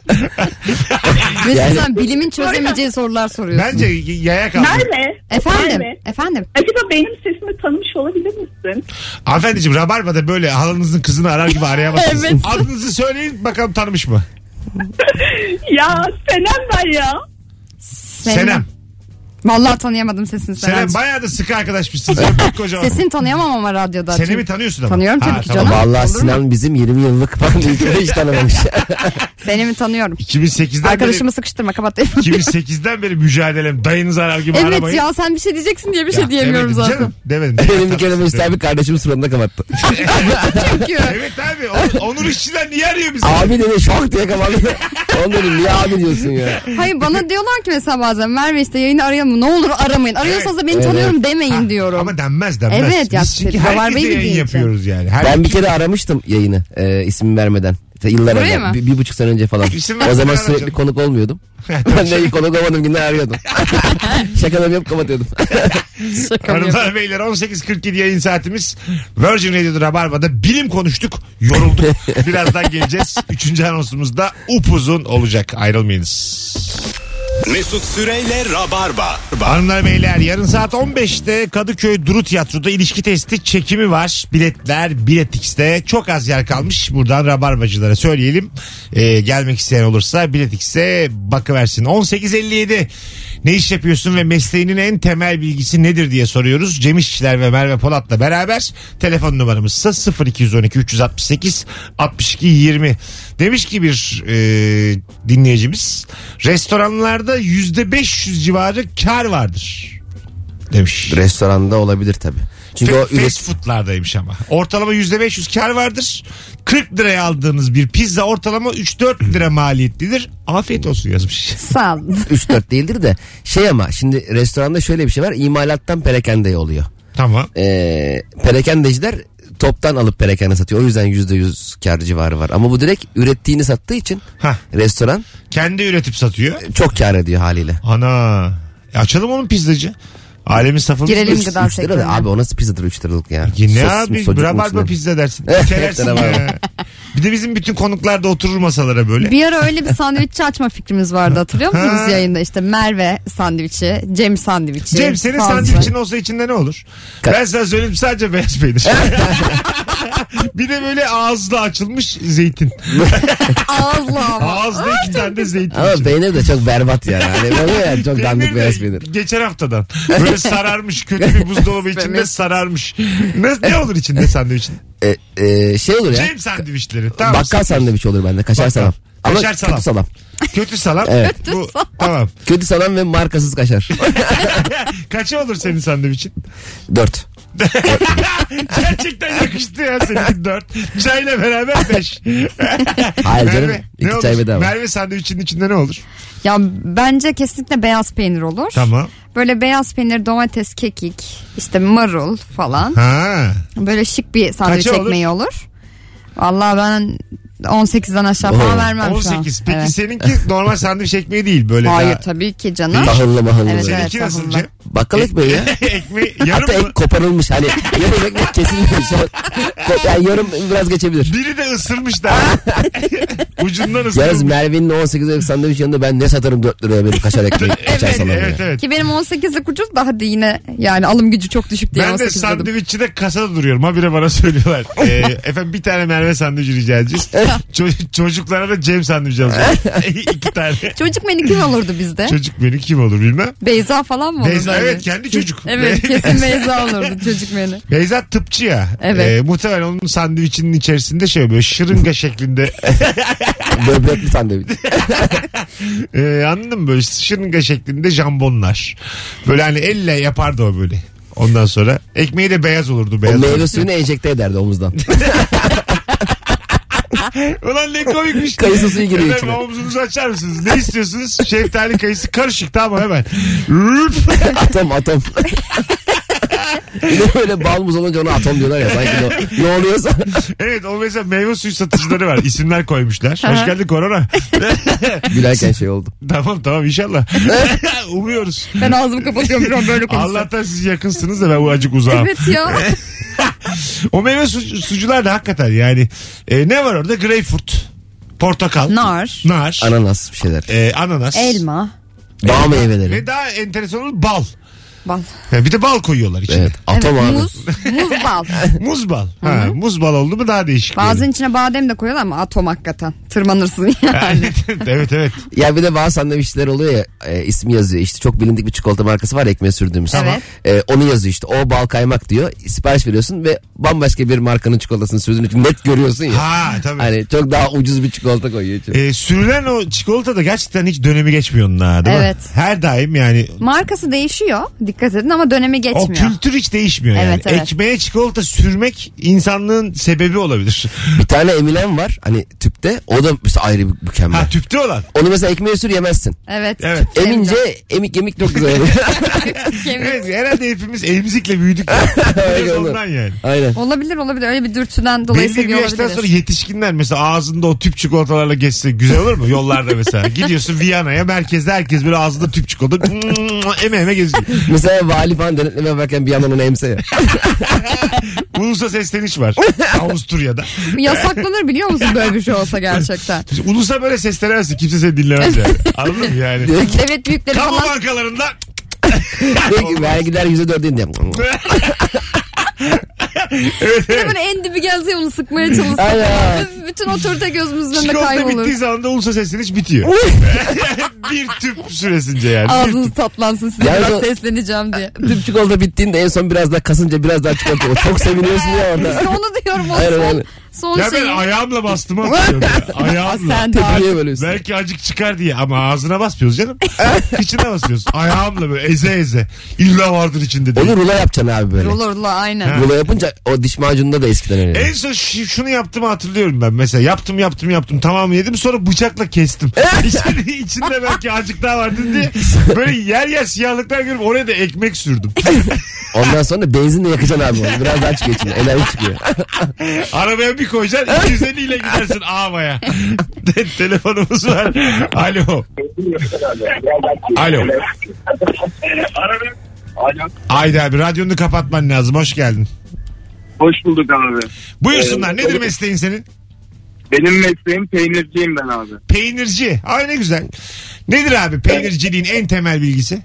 Speaker 7: Ve sen bilimin çözemeyeceği sorular soruyorsun.
Speaker 2: Bence y- yaya kaldı.
Speaker 8: Merve.
Speaker 7: Efendim?
Speaker 8: Merve,
Speaker 7: Efendim?
Speaker 8: Acaba benim sesimi tanımış olabilir misin?
Speaker 2: Hanımefendiciğim Rabarba'da böyle halanızın kızını arar gibi arayamazsınız.
Speaker 7: Evet.
Speaker 2: Adınızı söyleyin bakalım tanımış mı?
Speaker 8: ya Senem ben ya.
Speaker 7: Senem.
Speaker 2: Senem.
Speaker 7: Vallahi tanıyamadım sesini Senem.
Speaker 2: Senem bayağı da sıkı arkadaşmışsınız. Öptük kocaman.
Speaker 7: Sesini tanıyamam ama radyoda.
Speaker 2: Senemi
Speaker 7: Çünkü-
Speaker 2: tanıyorsun ama.
Speaker 7: Tanıyorum tabii
Speaker 2: Ha,
Speaker 7: ki
Speaker 2: tamam.
Speaker 7: canım.
Speaker 3: Vallahi
Speaker 7: Olur mu?
Speaker 3: Sinan bizim 20 yıllık falan ülkede hiç tanımamış.
Speaker 7: Senemi tanıyorum.
Speaker 2: 2008'den
Speaker 7: Arkadaşımı sıkıştırma kapat.
Speaker 2: beri 2008'den beri mücadelem. Dayınız arar gibi
Speaker 7: evet
Speaker 2: aramayın.
Speaker 7: ya sen bir şey diyeceksin diye bir şey
Speaker 2: Ya,
Speaker 7: diyemiyorum
Speaker 2: demedim
Speaker 7: zaten.
Speaker 2: Canım, demedim.
Speaker 3: Benim bir kere Mesut bir kardeşim suratına kapattı.
Speaker 7: Çünkü.
Speaker 2: Evet abi. On- Onur işçiler niye arıyor bizi?
Speaker 3: abi dedi şok diye kapattı. Oğlum dedim niye abi diyorsun ya?
Speaker 7: Hayır bana diyorlar ki mesela bazen Merve işte yayını arayalım mı? Ne olur aramayın. Arıyorsanız da beni
Speaker 3: Evet.
Speaker 7: tanıyorum demeyin diyorum.
Speaker 2: Ama denmez denmez.
Speaker 7: Evet, ya,
Speaker 2: Biz çünkü
Speaker 7: Rabarba
Speaker 2: herkese
Speaker 7: bildiğin
Speaker 2: yayın
Speaker 7: için.
Speaker 2: yapıyoruz yani. Her
Speaker 3: Ben bir kere aramıştım yayını e, ismimi vermeden. İşte Yıllar
Speaker 7: Buraya
Speaker 3: evvel.
Speaker 7: mı?
Speaker 3: Bir, bir buçuk sene önce falan.
Speaker 2: İsim
Speaker 3: o
Speaker 2: vermeden
Speaker 3: zaman sürekli
Speaker 2: arayacaksın.
Speaker 3: konuk olmuyordum. ben de iyi konuk olmadım günde arıyordum. Şakalarımı yapıp kapatıyordum.
Speaker 7: Şaka mı
Speaker 2: Hanımlar beyler 18.47 yayın saatimiz Virgin Radio'da Rabarba'da bilim konuştuk yorulduk birazdan geleceğiz 3. anonsumuz da upuzun olacak ayrılmayınız.
Speaker 1: Mesut Süreyle Rabarba.
Speaker 2: Hanımlar beyler yarın saat 15'te Kadıköy Duru Tiyatro'da ilişki testi çekimi var. Biletler Biletix'te çok az yer kalmış. Buradan Rabarbacılara söyleyelim. Ee, gelmek isteyen olursa Biletix'e bakıversin. 18.57 ne iş yapıyorsun ve mesleğinin en temel bilgisi nedir diye soruyoruz. Cem İşçiler ve Merve Polat'la beraber telefon numaramız ise 0212 368 62 20. Demiş ki bir e, dinleyicimiz restoranlarda yüzde 500 civarı kar vardır demiş.
Speaker 3: Restoranda olabilir tabii. Çünkü
Speaker 2: Fa-
Speaker 3: o üret-
Speaker 2: fast foodlardaymış ama. Ortalama %500 kar vardır. 40 liraya aldığınız bir pizza ortalama 3-4 lira maliyetlidir. Afiyet olsun yazmış.
Speaker 7: Sağ ol.
Speaker 3: 3-4 değildir de şey ama şimdi restoranda şöyle bir şey var imalattan perakende oluyor.
Speaker 2: Tamam.
Speaker 3: Ee, perakendeciler toptan alıp perakende satıyor. O yüzden %100 kar civarı var. Ama bu direkt ürettiğini sattığı için
Speaker 2: Hah.
Speaker 3: restoran
Speaker 2: Kendi üretip satıyor.
Speaker 3: çok kar ediyor haliyle.
Speaker 2: Ana. E açalım onun pizzacı. Alemin safımız.
Speaker 7: Girelim
Speaker 2: Üç-
Speaker 7: gıda
Speaker 3: 3 lira da
Speaker 7: sektörüne.
Speaker 3: abi o nasıl pizzadır 3 liralık ya.
Speaker 2: Ya E, Ne
Speaker 3: Sosis mi,
Speaker 2: abi
Speaker 3: sucuk mu,
Speaker 2: rabarba
Speaker 3: sucuk mu?
Speaker 2: pizza dersin.
Speaker 3: Evet,
Speaker 2: Kelersin
Speaker 3: rabarba.
Speaker 2: ya. Bir de bizim bütün konuklar da oturur masalara böyle.
Speaker 7: Bir ara öyle bir sandviççi açma fikrimiz vardı hatırlıyor musunuz
Speaker 2: Ha.
Speaker 7: yayında işte Merve sandviçi, Cem sandviçi.
Speaker 2: Cem senin
Speaker 7: fazla.
Speaker 2: sandviçin olsa içinde ne olur? Ben sana söyleyeyim sadece beyaz peynir. bir de böyle ağızda açılmış zeytin.
Speaker 7: Ağızla ama.
Speaker 2: Ağızda iki tane de zeytin.
Speaker 3: Ama
Speaker 2: içinde.
Speaker 3: peynir de çok berbat yani. Hani böyle yani çok dandik
Speaker 2: Peynir de
Speaker 3: beyaz peynir.
Speaker 2: Geçen haftadan. Böyle sararmış kötü bir buzdolabı içinde sararmış. Ne, ne olur içinde sandviçin?
Speaker 3: E, e, şey olur ya.
Speaker 2: Cem sandviçleri. Tamam.
Speaker 3: bakkal sandviç olur bende. Kaşar
Speaker 2: Bakkal.
Speaker 3: salam. Ama
Speaker 2: Kaşar salam.
Speaker 3: kötü salam.
Speaker 2: Kötü salam.
Speaker 3: Evet.
Speaker 2: Bu, tamam.
Speaker 3: Kötü salam ve markasız kaşar.
Speaker 2: Kaça olur senin sandviçin?
Speaker 3: Dört.
Speaker 2: Gerçekten yakıştı ya senin dört. Çayla beraber beş.
Speaker 3: Hayır canım.
Speaker 2: Merve, ne
Speaker 3: iki çay
Speaker 2: olur?
Speaker 3: bedava.
Speaker 2: Merve sandviçin içinde ne olur?
Speaker 7: Ya bence kesinlikle beyaz peynir olur.
Speaker 2: Tamam.
Speaker 7: Böyle beyaz peynir, domates, kekik, işte marul falan.
Speaker 2: Ha.
Speaker 7: Böyle şık bir sandviç
Speaker 2: Kaça olur?
Speaker 7: ekmeği olur. Vallahi ben 18'den aşağı falan
Speaker 3: Oo.
Speaker 7: vermem şu an.
Speaker 2: 18. Peki
Speaker 7: Evet.
Speaker 2: seninki normal sandviç ekmeği değil böyle.
Speaker 7: Hayır
Speaker 2: daha.
Speaker 7: tabii ki canım.
Speaker 3: Tahıllı mahıllı.
Speaker 7: Evet,
Speaker 2: Seninki nasıl
Speaker 7: tahıllı.
Speaker 2: Cem?
Speaker 3: Bakkal ekmeği ya.
Speaker 2: Ekmeği
Speaker 3: Hatta
Speaker 2: yarım mı?
Speaker 3: ek koparılmış hani yarım ekmek kesilmiş. Ko- Yani yarım biraz geçebilir.
Speaker 2: Biri de ısırmış daha. Ucundan
Speaker 3: Yalnız
Speaker 2: ısırmış.
Speaker 3: Merve'nin o 18 liralık sandviç yanında ben ne satarım 4 liraya benim kaşar ekmeği. kaşar
Speaker 2: Evet
Speaker 3: salam
Speaker 2: evet
Speaker 3: ya.
Speaker 2: evet.
Speaker 7: Ki benim 18'lik ucuz da hadi yine yani alım gücü çok düşük diye
Speaker 2: Ben de
Speaker 7: 18 dedim.
Speaker 2: sandviççide kasada duruyorum. Habire bana söylüyorlar. Ee, efendim bir tane Merve sandviçi rica edeceğiz. Ço- çocuklara da Cem sandviçi alacağız. İki tane.
Speaker 7: Çocuk menükün olurdu bizde.
Speaker 2: Çocuk beni kim olur bilmem.
Speaker 7: Beyza falan mı olurdu?
Speaker 2: Beyza
Speaker 7: öyle?
Speaker 2: evet kendi çocuk.
Speaker 7: Evet
Speaker 2: Be-
Speaker 7: kesin Beyza olurdu çocuk menü.
Speaker 2: Beyza tıpçı ya.
Speaker 7: Evet.
Speaker 2: Ee, muhtemelen onun sandviçinin içerisinde şey böyle şırınga şeklinde.
Speaker 3: Böbrek bir sandviç.
Speaker 2: Ee, anladın mı böyle şırınga şeklinde jambonlar. Böyle hani elle yapardı o böyle. Ondan sonra ekmeği de beyaz olurdu.
Speaker 3: O
Speaker 2: Beyaz
Speaker 3: meyve suyunu enjekte ederdi omuzdan.
Speaker 2: Ulan ne komikmiş.
Speaker 3: Kayısı suyu giriyor içine.
Speaker 2: Hemen omzunuzu açar mısınız? Ne istiyorsunuz? Şeftali kayısı karışık tamam hemen. Rüp.
Speaker 3: atom atom. Bir de böyle bal muz olunca ona atom diyorlar ya sanki ne, ne oluyorsa.
Speaker 2: evet o mesela meyve suyu satıcıları var. İsimler koymuşlar. Hoş geldin korona.
Speaker 3: Gülerken şey oldu.
Speaker 2: tamam tamam inşallah. Umuyoruz.
Speaker 7: Ben ağzımı kapatıyorum şu an böyle konuşuyorum.
Speaker 2: Allah'tan siz yakınsınız da ben acık uzağım.
Speaker 7: Evet ya.
Speaker 2: O meyve su- sucular da hakikaten yani. E, ne var orada? Greyfurt. Portakal.
Speaker 7: Nar,
Speaker 2: Nar.
Speaker 3: Ananas bir şeyler.
Speaker 2: e, ananas.
Speaker 7: elma,
Speaker 3: Dağ
Speaker 2: Ve
Speaker 3: meyveleri.
Speaker 2: daha enteresan olan bal.
Speaker 7: bal.
Speaker 2: Yani bir de bal koyuyorlar içine.
Speaker 3: Evet. Atom
Speaker 7: evet,
Speaker 3: abi.
Speaker 7: muz, muz bal.
Speaker 2: Muz bal. Ha, muz bal oldu mu daha değişik.
Speaker 7: Bazen içine badem de koyuyorlar ama atom hakikaten. Tırmanırsın yani.
Speaker 2: Yani. evet evet.
Speaker 3: Ya bir de bazı sandviçler oluyor ya e, ismi yazıyor işte çok bilindik bir çikolata markası var ya, ekmeğe sürdüğümüz.
Speaker 7: Tamam.
Speaker 3: E, onu yazıyor işte o bal kaymak diyor sipariş veriyorsun ve bambaşka bir markanın çikolatasını sürdüğünü net görüyorsun ya.
Speaker 2: Ha tabii.
Speaker 3: Hani çok daha ucuz bir çikolata koyuyor içine.
Speaker 2: Ee, sürülen o çikolata da gerçekten hiç dönemi geçmiyor onun ha değil mi?
Speaker 7: Evet.
Speaker 2: Her daim yani
Speaker 7: Markası değişiyor dikkat edin ama dönemi
Speaker 2: o
Speaker 7: geçmiyor.
Speaker 2: kültür hiç değişmiyor
Speaker 7: Evet,
Speaker 2: yani.
Speaker 7: evet.
Speaker 2: Ekmeğe çikolata sürmek insanlığın sebebi olabilir.
Speaker 3: Bir tane emilen var hani tüpte o da işte ayrı bir mükemmel.
Speaker 2: Ha tüpte olan.
Speaker 3: Onu mesela ekmeğe sür yemezsin.
Speaker 7: Evet.
Speaker 2: Evet.
Speaker 3: Emince emik emik çok güzel oluyor.
Speaker 7: Kemik.
Speaker 2: Evet herhalde hepimiz emzikle büyüdük. ya. Biraz
Speaker 3: Öyle olur.
Speaker 2: ondan yani.
Speaker 3: Aynen.
Speaker 7: Olabilir olabilir öyle bir dürtüden dolayı
Speaker 2: Belli bir
Speaker 7: seviyor
Speaker 2: yaştan
Speaker 7: olabiliriz.
Speaker 2: sonra yetişkinler mesela ağzında o tüp çikolatalarla geçse güzel olur mu? Yollarda mesela. Gidiyorsun Viyana'ya merkezde herkes böyle ağzında tüp çikolata eme eme geziyor.
Speaker 3: Mesela vali falan denetleme yaparken bir yandan onu emse ya.
Speaker 2: Ulusa sesleniş var. Avusturya'da.
Speaker 7: Yasaklanır biliyor musun böyle bir şey olsa gerçekten.
Speaker 2: Şimdi Ulusa böyle seslenemezsin. Kimse seni dinlemez yani. Anladın mı yani?
Speaker 7: Evet büyükleri
Speaker 2: Kamu
Speaker 7: falan
Speaker 2: bankalarında
Speaker 3: Diyor ki, vergiler yüzde dört indi.
Speaker 2: evet,
Speaker 7: Bir de
Speaker 2: evet.
Speaker 7: böyle en dibi gelse onu sıkmaya çalışsa.
Speaker 3: Aynen.
Speaker 7: Bütün otorite gözümüzün önünde
Speaker 2: Çikolata
Speaker 7: kaybolur.
Speaker 2: bittiği zaman da ulusa sesleniş bitiyor. bir tüp süresince yani. Bir
Speaker 7: Ağzınız tatlansın size
Speaker 3: Yani
Speaker 7: biraz
Speaker 3: o-
Speaker 7: sesleneceğim diye.
Speaker 3: Tüp çikolata bittiğinde en son biraz daha kasınca biraz daha çikolata. Çok seviniyorsun ya orada.
Speaker 7: İşte onu diyorum o
Speaker 3: Aynen,
Speaker 7: son,
Speaker 3: aynen.
Speaker 7: son
Speaker 2: Ya ben
Speaker 7: şeyi.
Speaker 2: ayağımla bastım atıyorum ya. Ayağımla.
Speaker 7: Sen de
Speaker 3: Tepkiye bölüyorsun.
Speaker 2: Belki acık çıkar diye ama ağzına basmıyoruz canım. İçine basıyoruz. Ayağımla böyle eze eze. İlla vardır içinde diye.
Speaker 3: Onu rulo yapacaksın abi böyle.
Speaker 7: Olur la aynen.
Speaker 3: Rulo yapınca o diş macununda da eskiden öyle.
Speaker 2: En son şi- şunu yaptığımı hatırlıyorum ben mesela. Yaptım yaptım yaptım tamam yedim sonra bıçakla kestim. içinde, içinde belki azıcık daha vardı diye böyle yer yer siyahlıklar görüp oraya da ekmek sürdüm.
Speaker 3: Ondan sonra benzinle yakacaksın abi onu. Biraz daha çıkıyor içinde. Enerji çıkıyor.
Speaker 2: Arabaya bir koyacaksın 250 ile gidersin Ava'ya. Te- telefonumuz var. Alo. Alo. Ayda abi radyonu kapatman lazım. Hoş geldin.
Speaker 6: Hoş bulduk abi.
Speaker 2: Buyursunlar.
Speaker 6: Ee,
Speaker 2: Nedir mesleğin senin?
Speaker 6: Benim mesleğim peynirciyim ben abi.
Speaker 2: Peynirci. Ay ne güzel. Nedir abi peynirciliğin en temel bilgisi?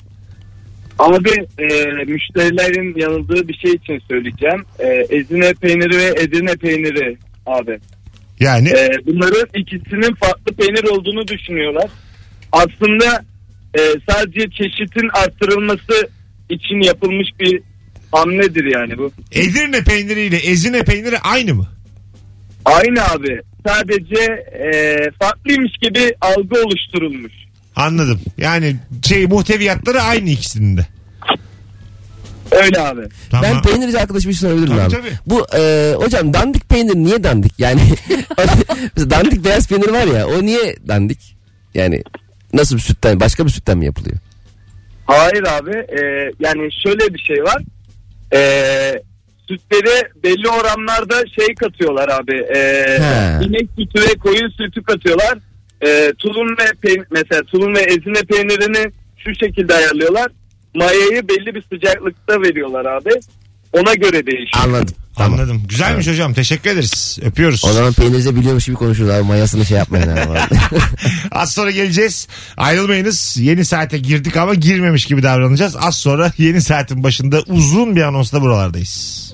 Speaker 6: Abi e, müşterilerin yanıldığı bir şey için söyleyeceğim. E, Ezine peyniri ve Edirne peyniri abi.
Speaker 2: Yani
Speaker 6: E, bunların ikisinin farklı peynir olduğunu düşünüyorlar. Aslında e, sadece çeşitin arttırılması için yapılmış bir hamledir yani bu.
Speaker 2: Edirne peyniriyle Ezine peyniri aynı mı?
Speaker 6: Aynı abi. Sadece e, farklıymış gibi algı oluşturulmuş.
Speaker 2: Anladım. Yani şey muhteviyatları aynı ikisinin de.
Speaker 6: Öyle abi.
Speaker 2: Tamam.
Speaker 3: Ben peynirci arkadaşım için sorabilirim
Speaker 2: Tabii,
Speaker 3: abi.
Speaker 2: tabii.
Speaker 3: Bu e, hocam dandik peynir niye dandik? Yani dandik beyaz peynir var ya o niye dandik? Yani nasıl bir sütten başka bir sütten mi yapılıyor?
Speaker 6: Hayır abi. e, yani şöyle bir şey var. E, sütleri belli oranlarda şey katıyorlar abi. E,
Speaker 3: He.
Speaker 6: inek sütü ve koyun sütü katıyorlar. E, tulum ve peyn- mesela tulum ve ezine peynirini şu şekilde ayarlıyorlar. Mayayı belli bir sıcaklıkta veriyorlar abi. Ona göre değişiyor.
Speaker 3: Anladım. Tamam.
Speaker 2: Anladım. Güzelmiş hocam. Teşekkür ederiz. Öpüyoruz.
Speaker 3: O zaman peynirci biliyormuş gibi konuşuruz abi mayasını şey yapmayın abi.
Speaker 2: Az sonra geleceğiz. Ayrılmayınız. Yeni saate girdik ama girmemiş gibi davranacağız. Az sonra yeni saatin başında uzun bir anonsla buralardayız.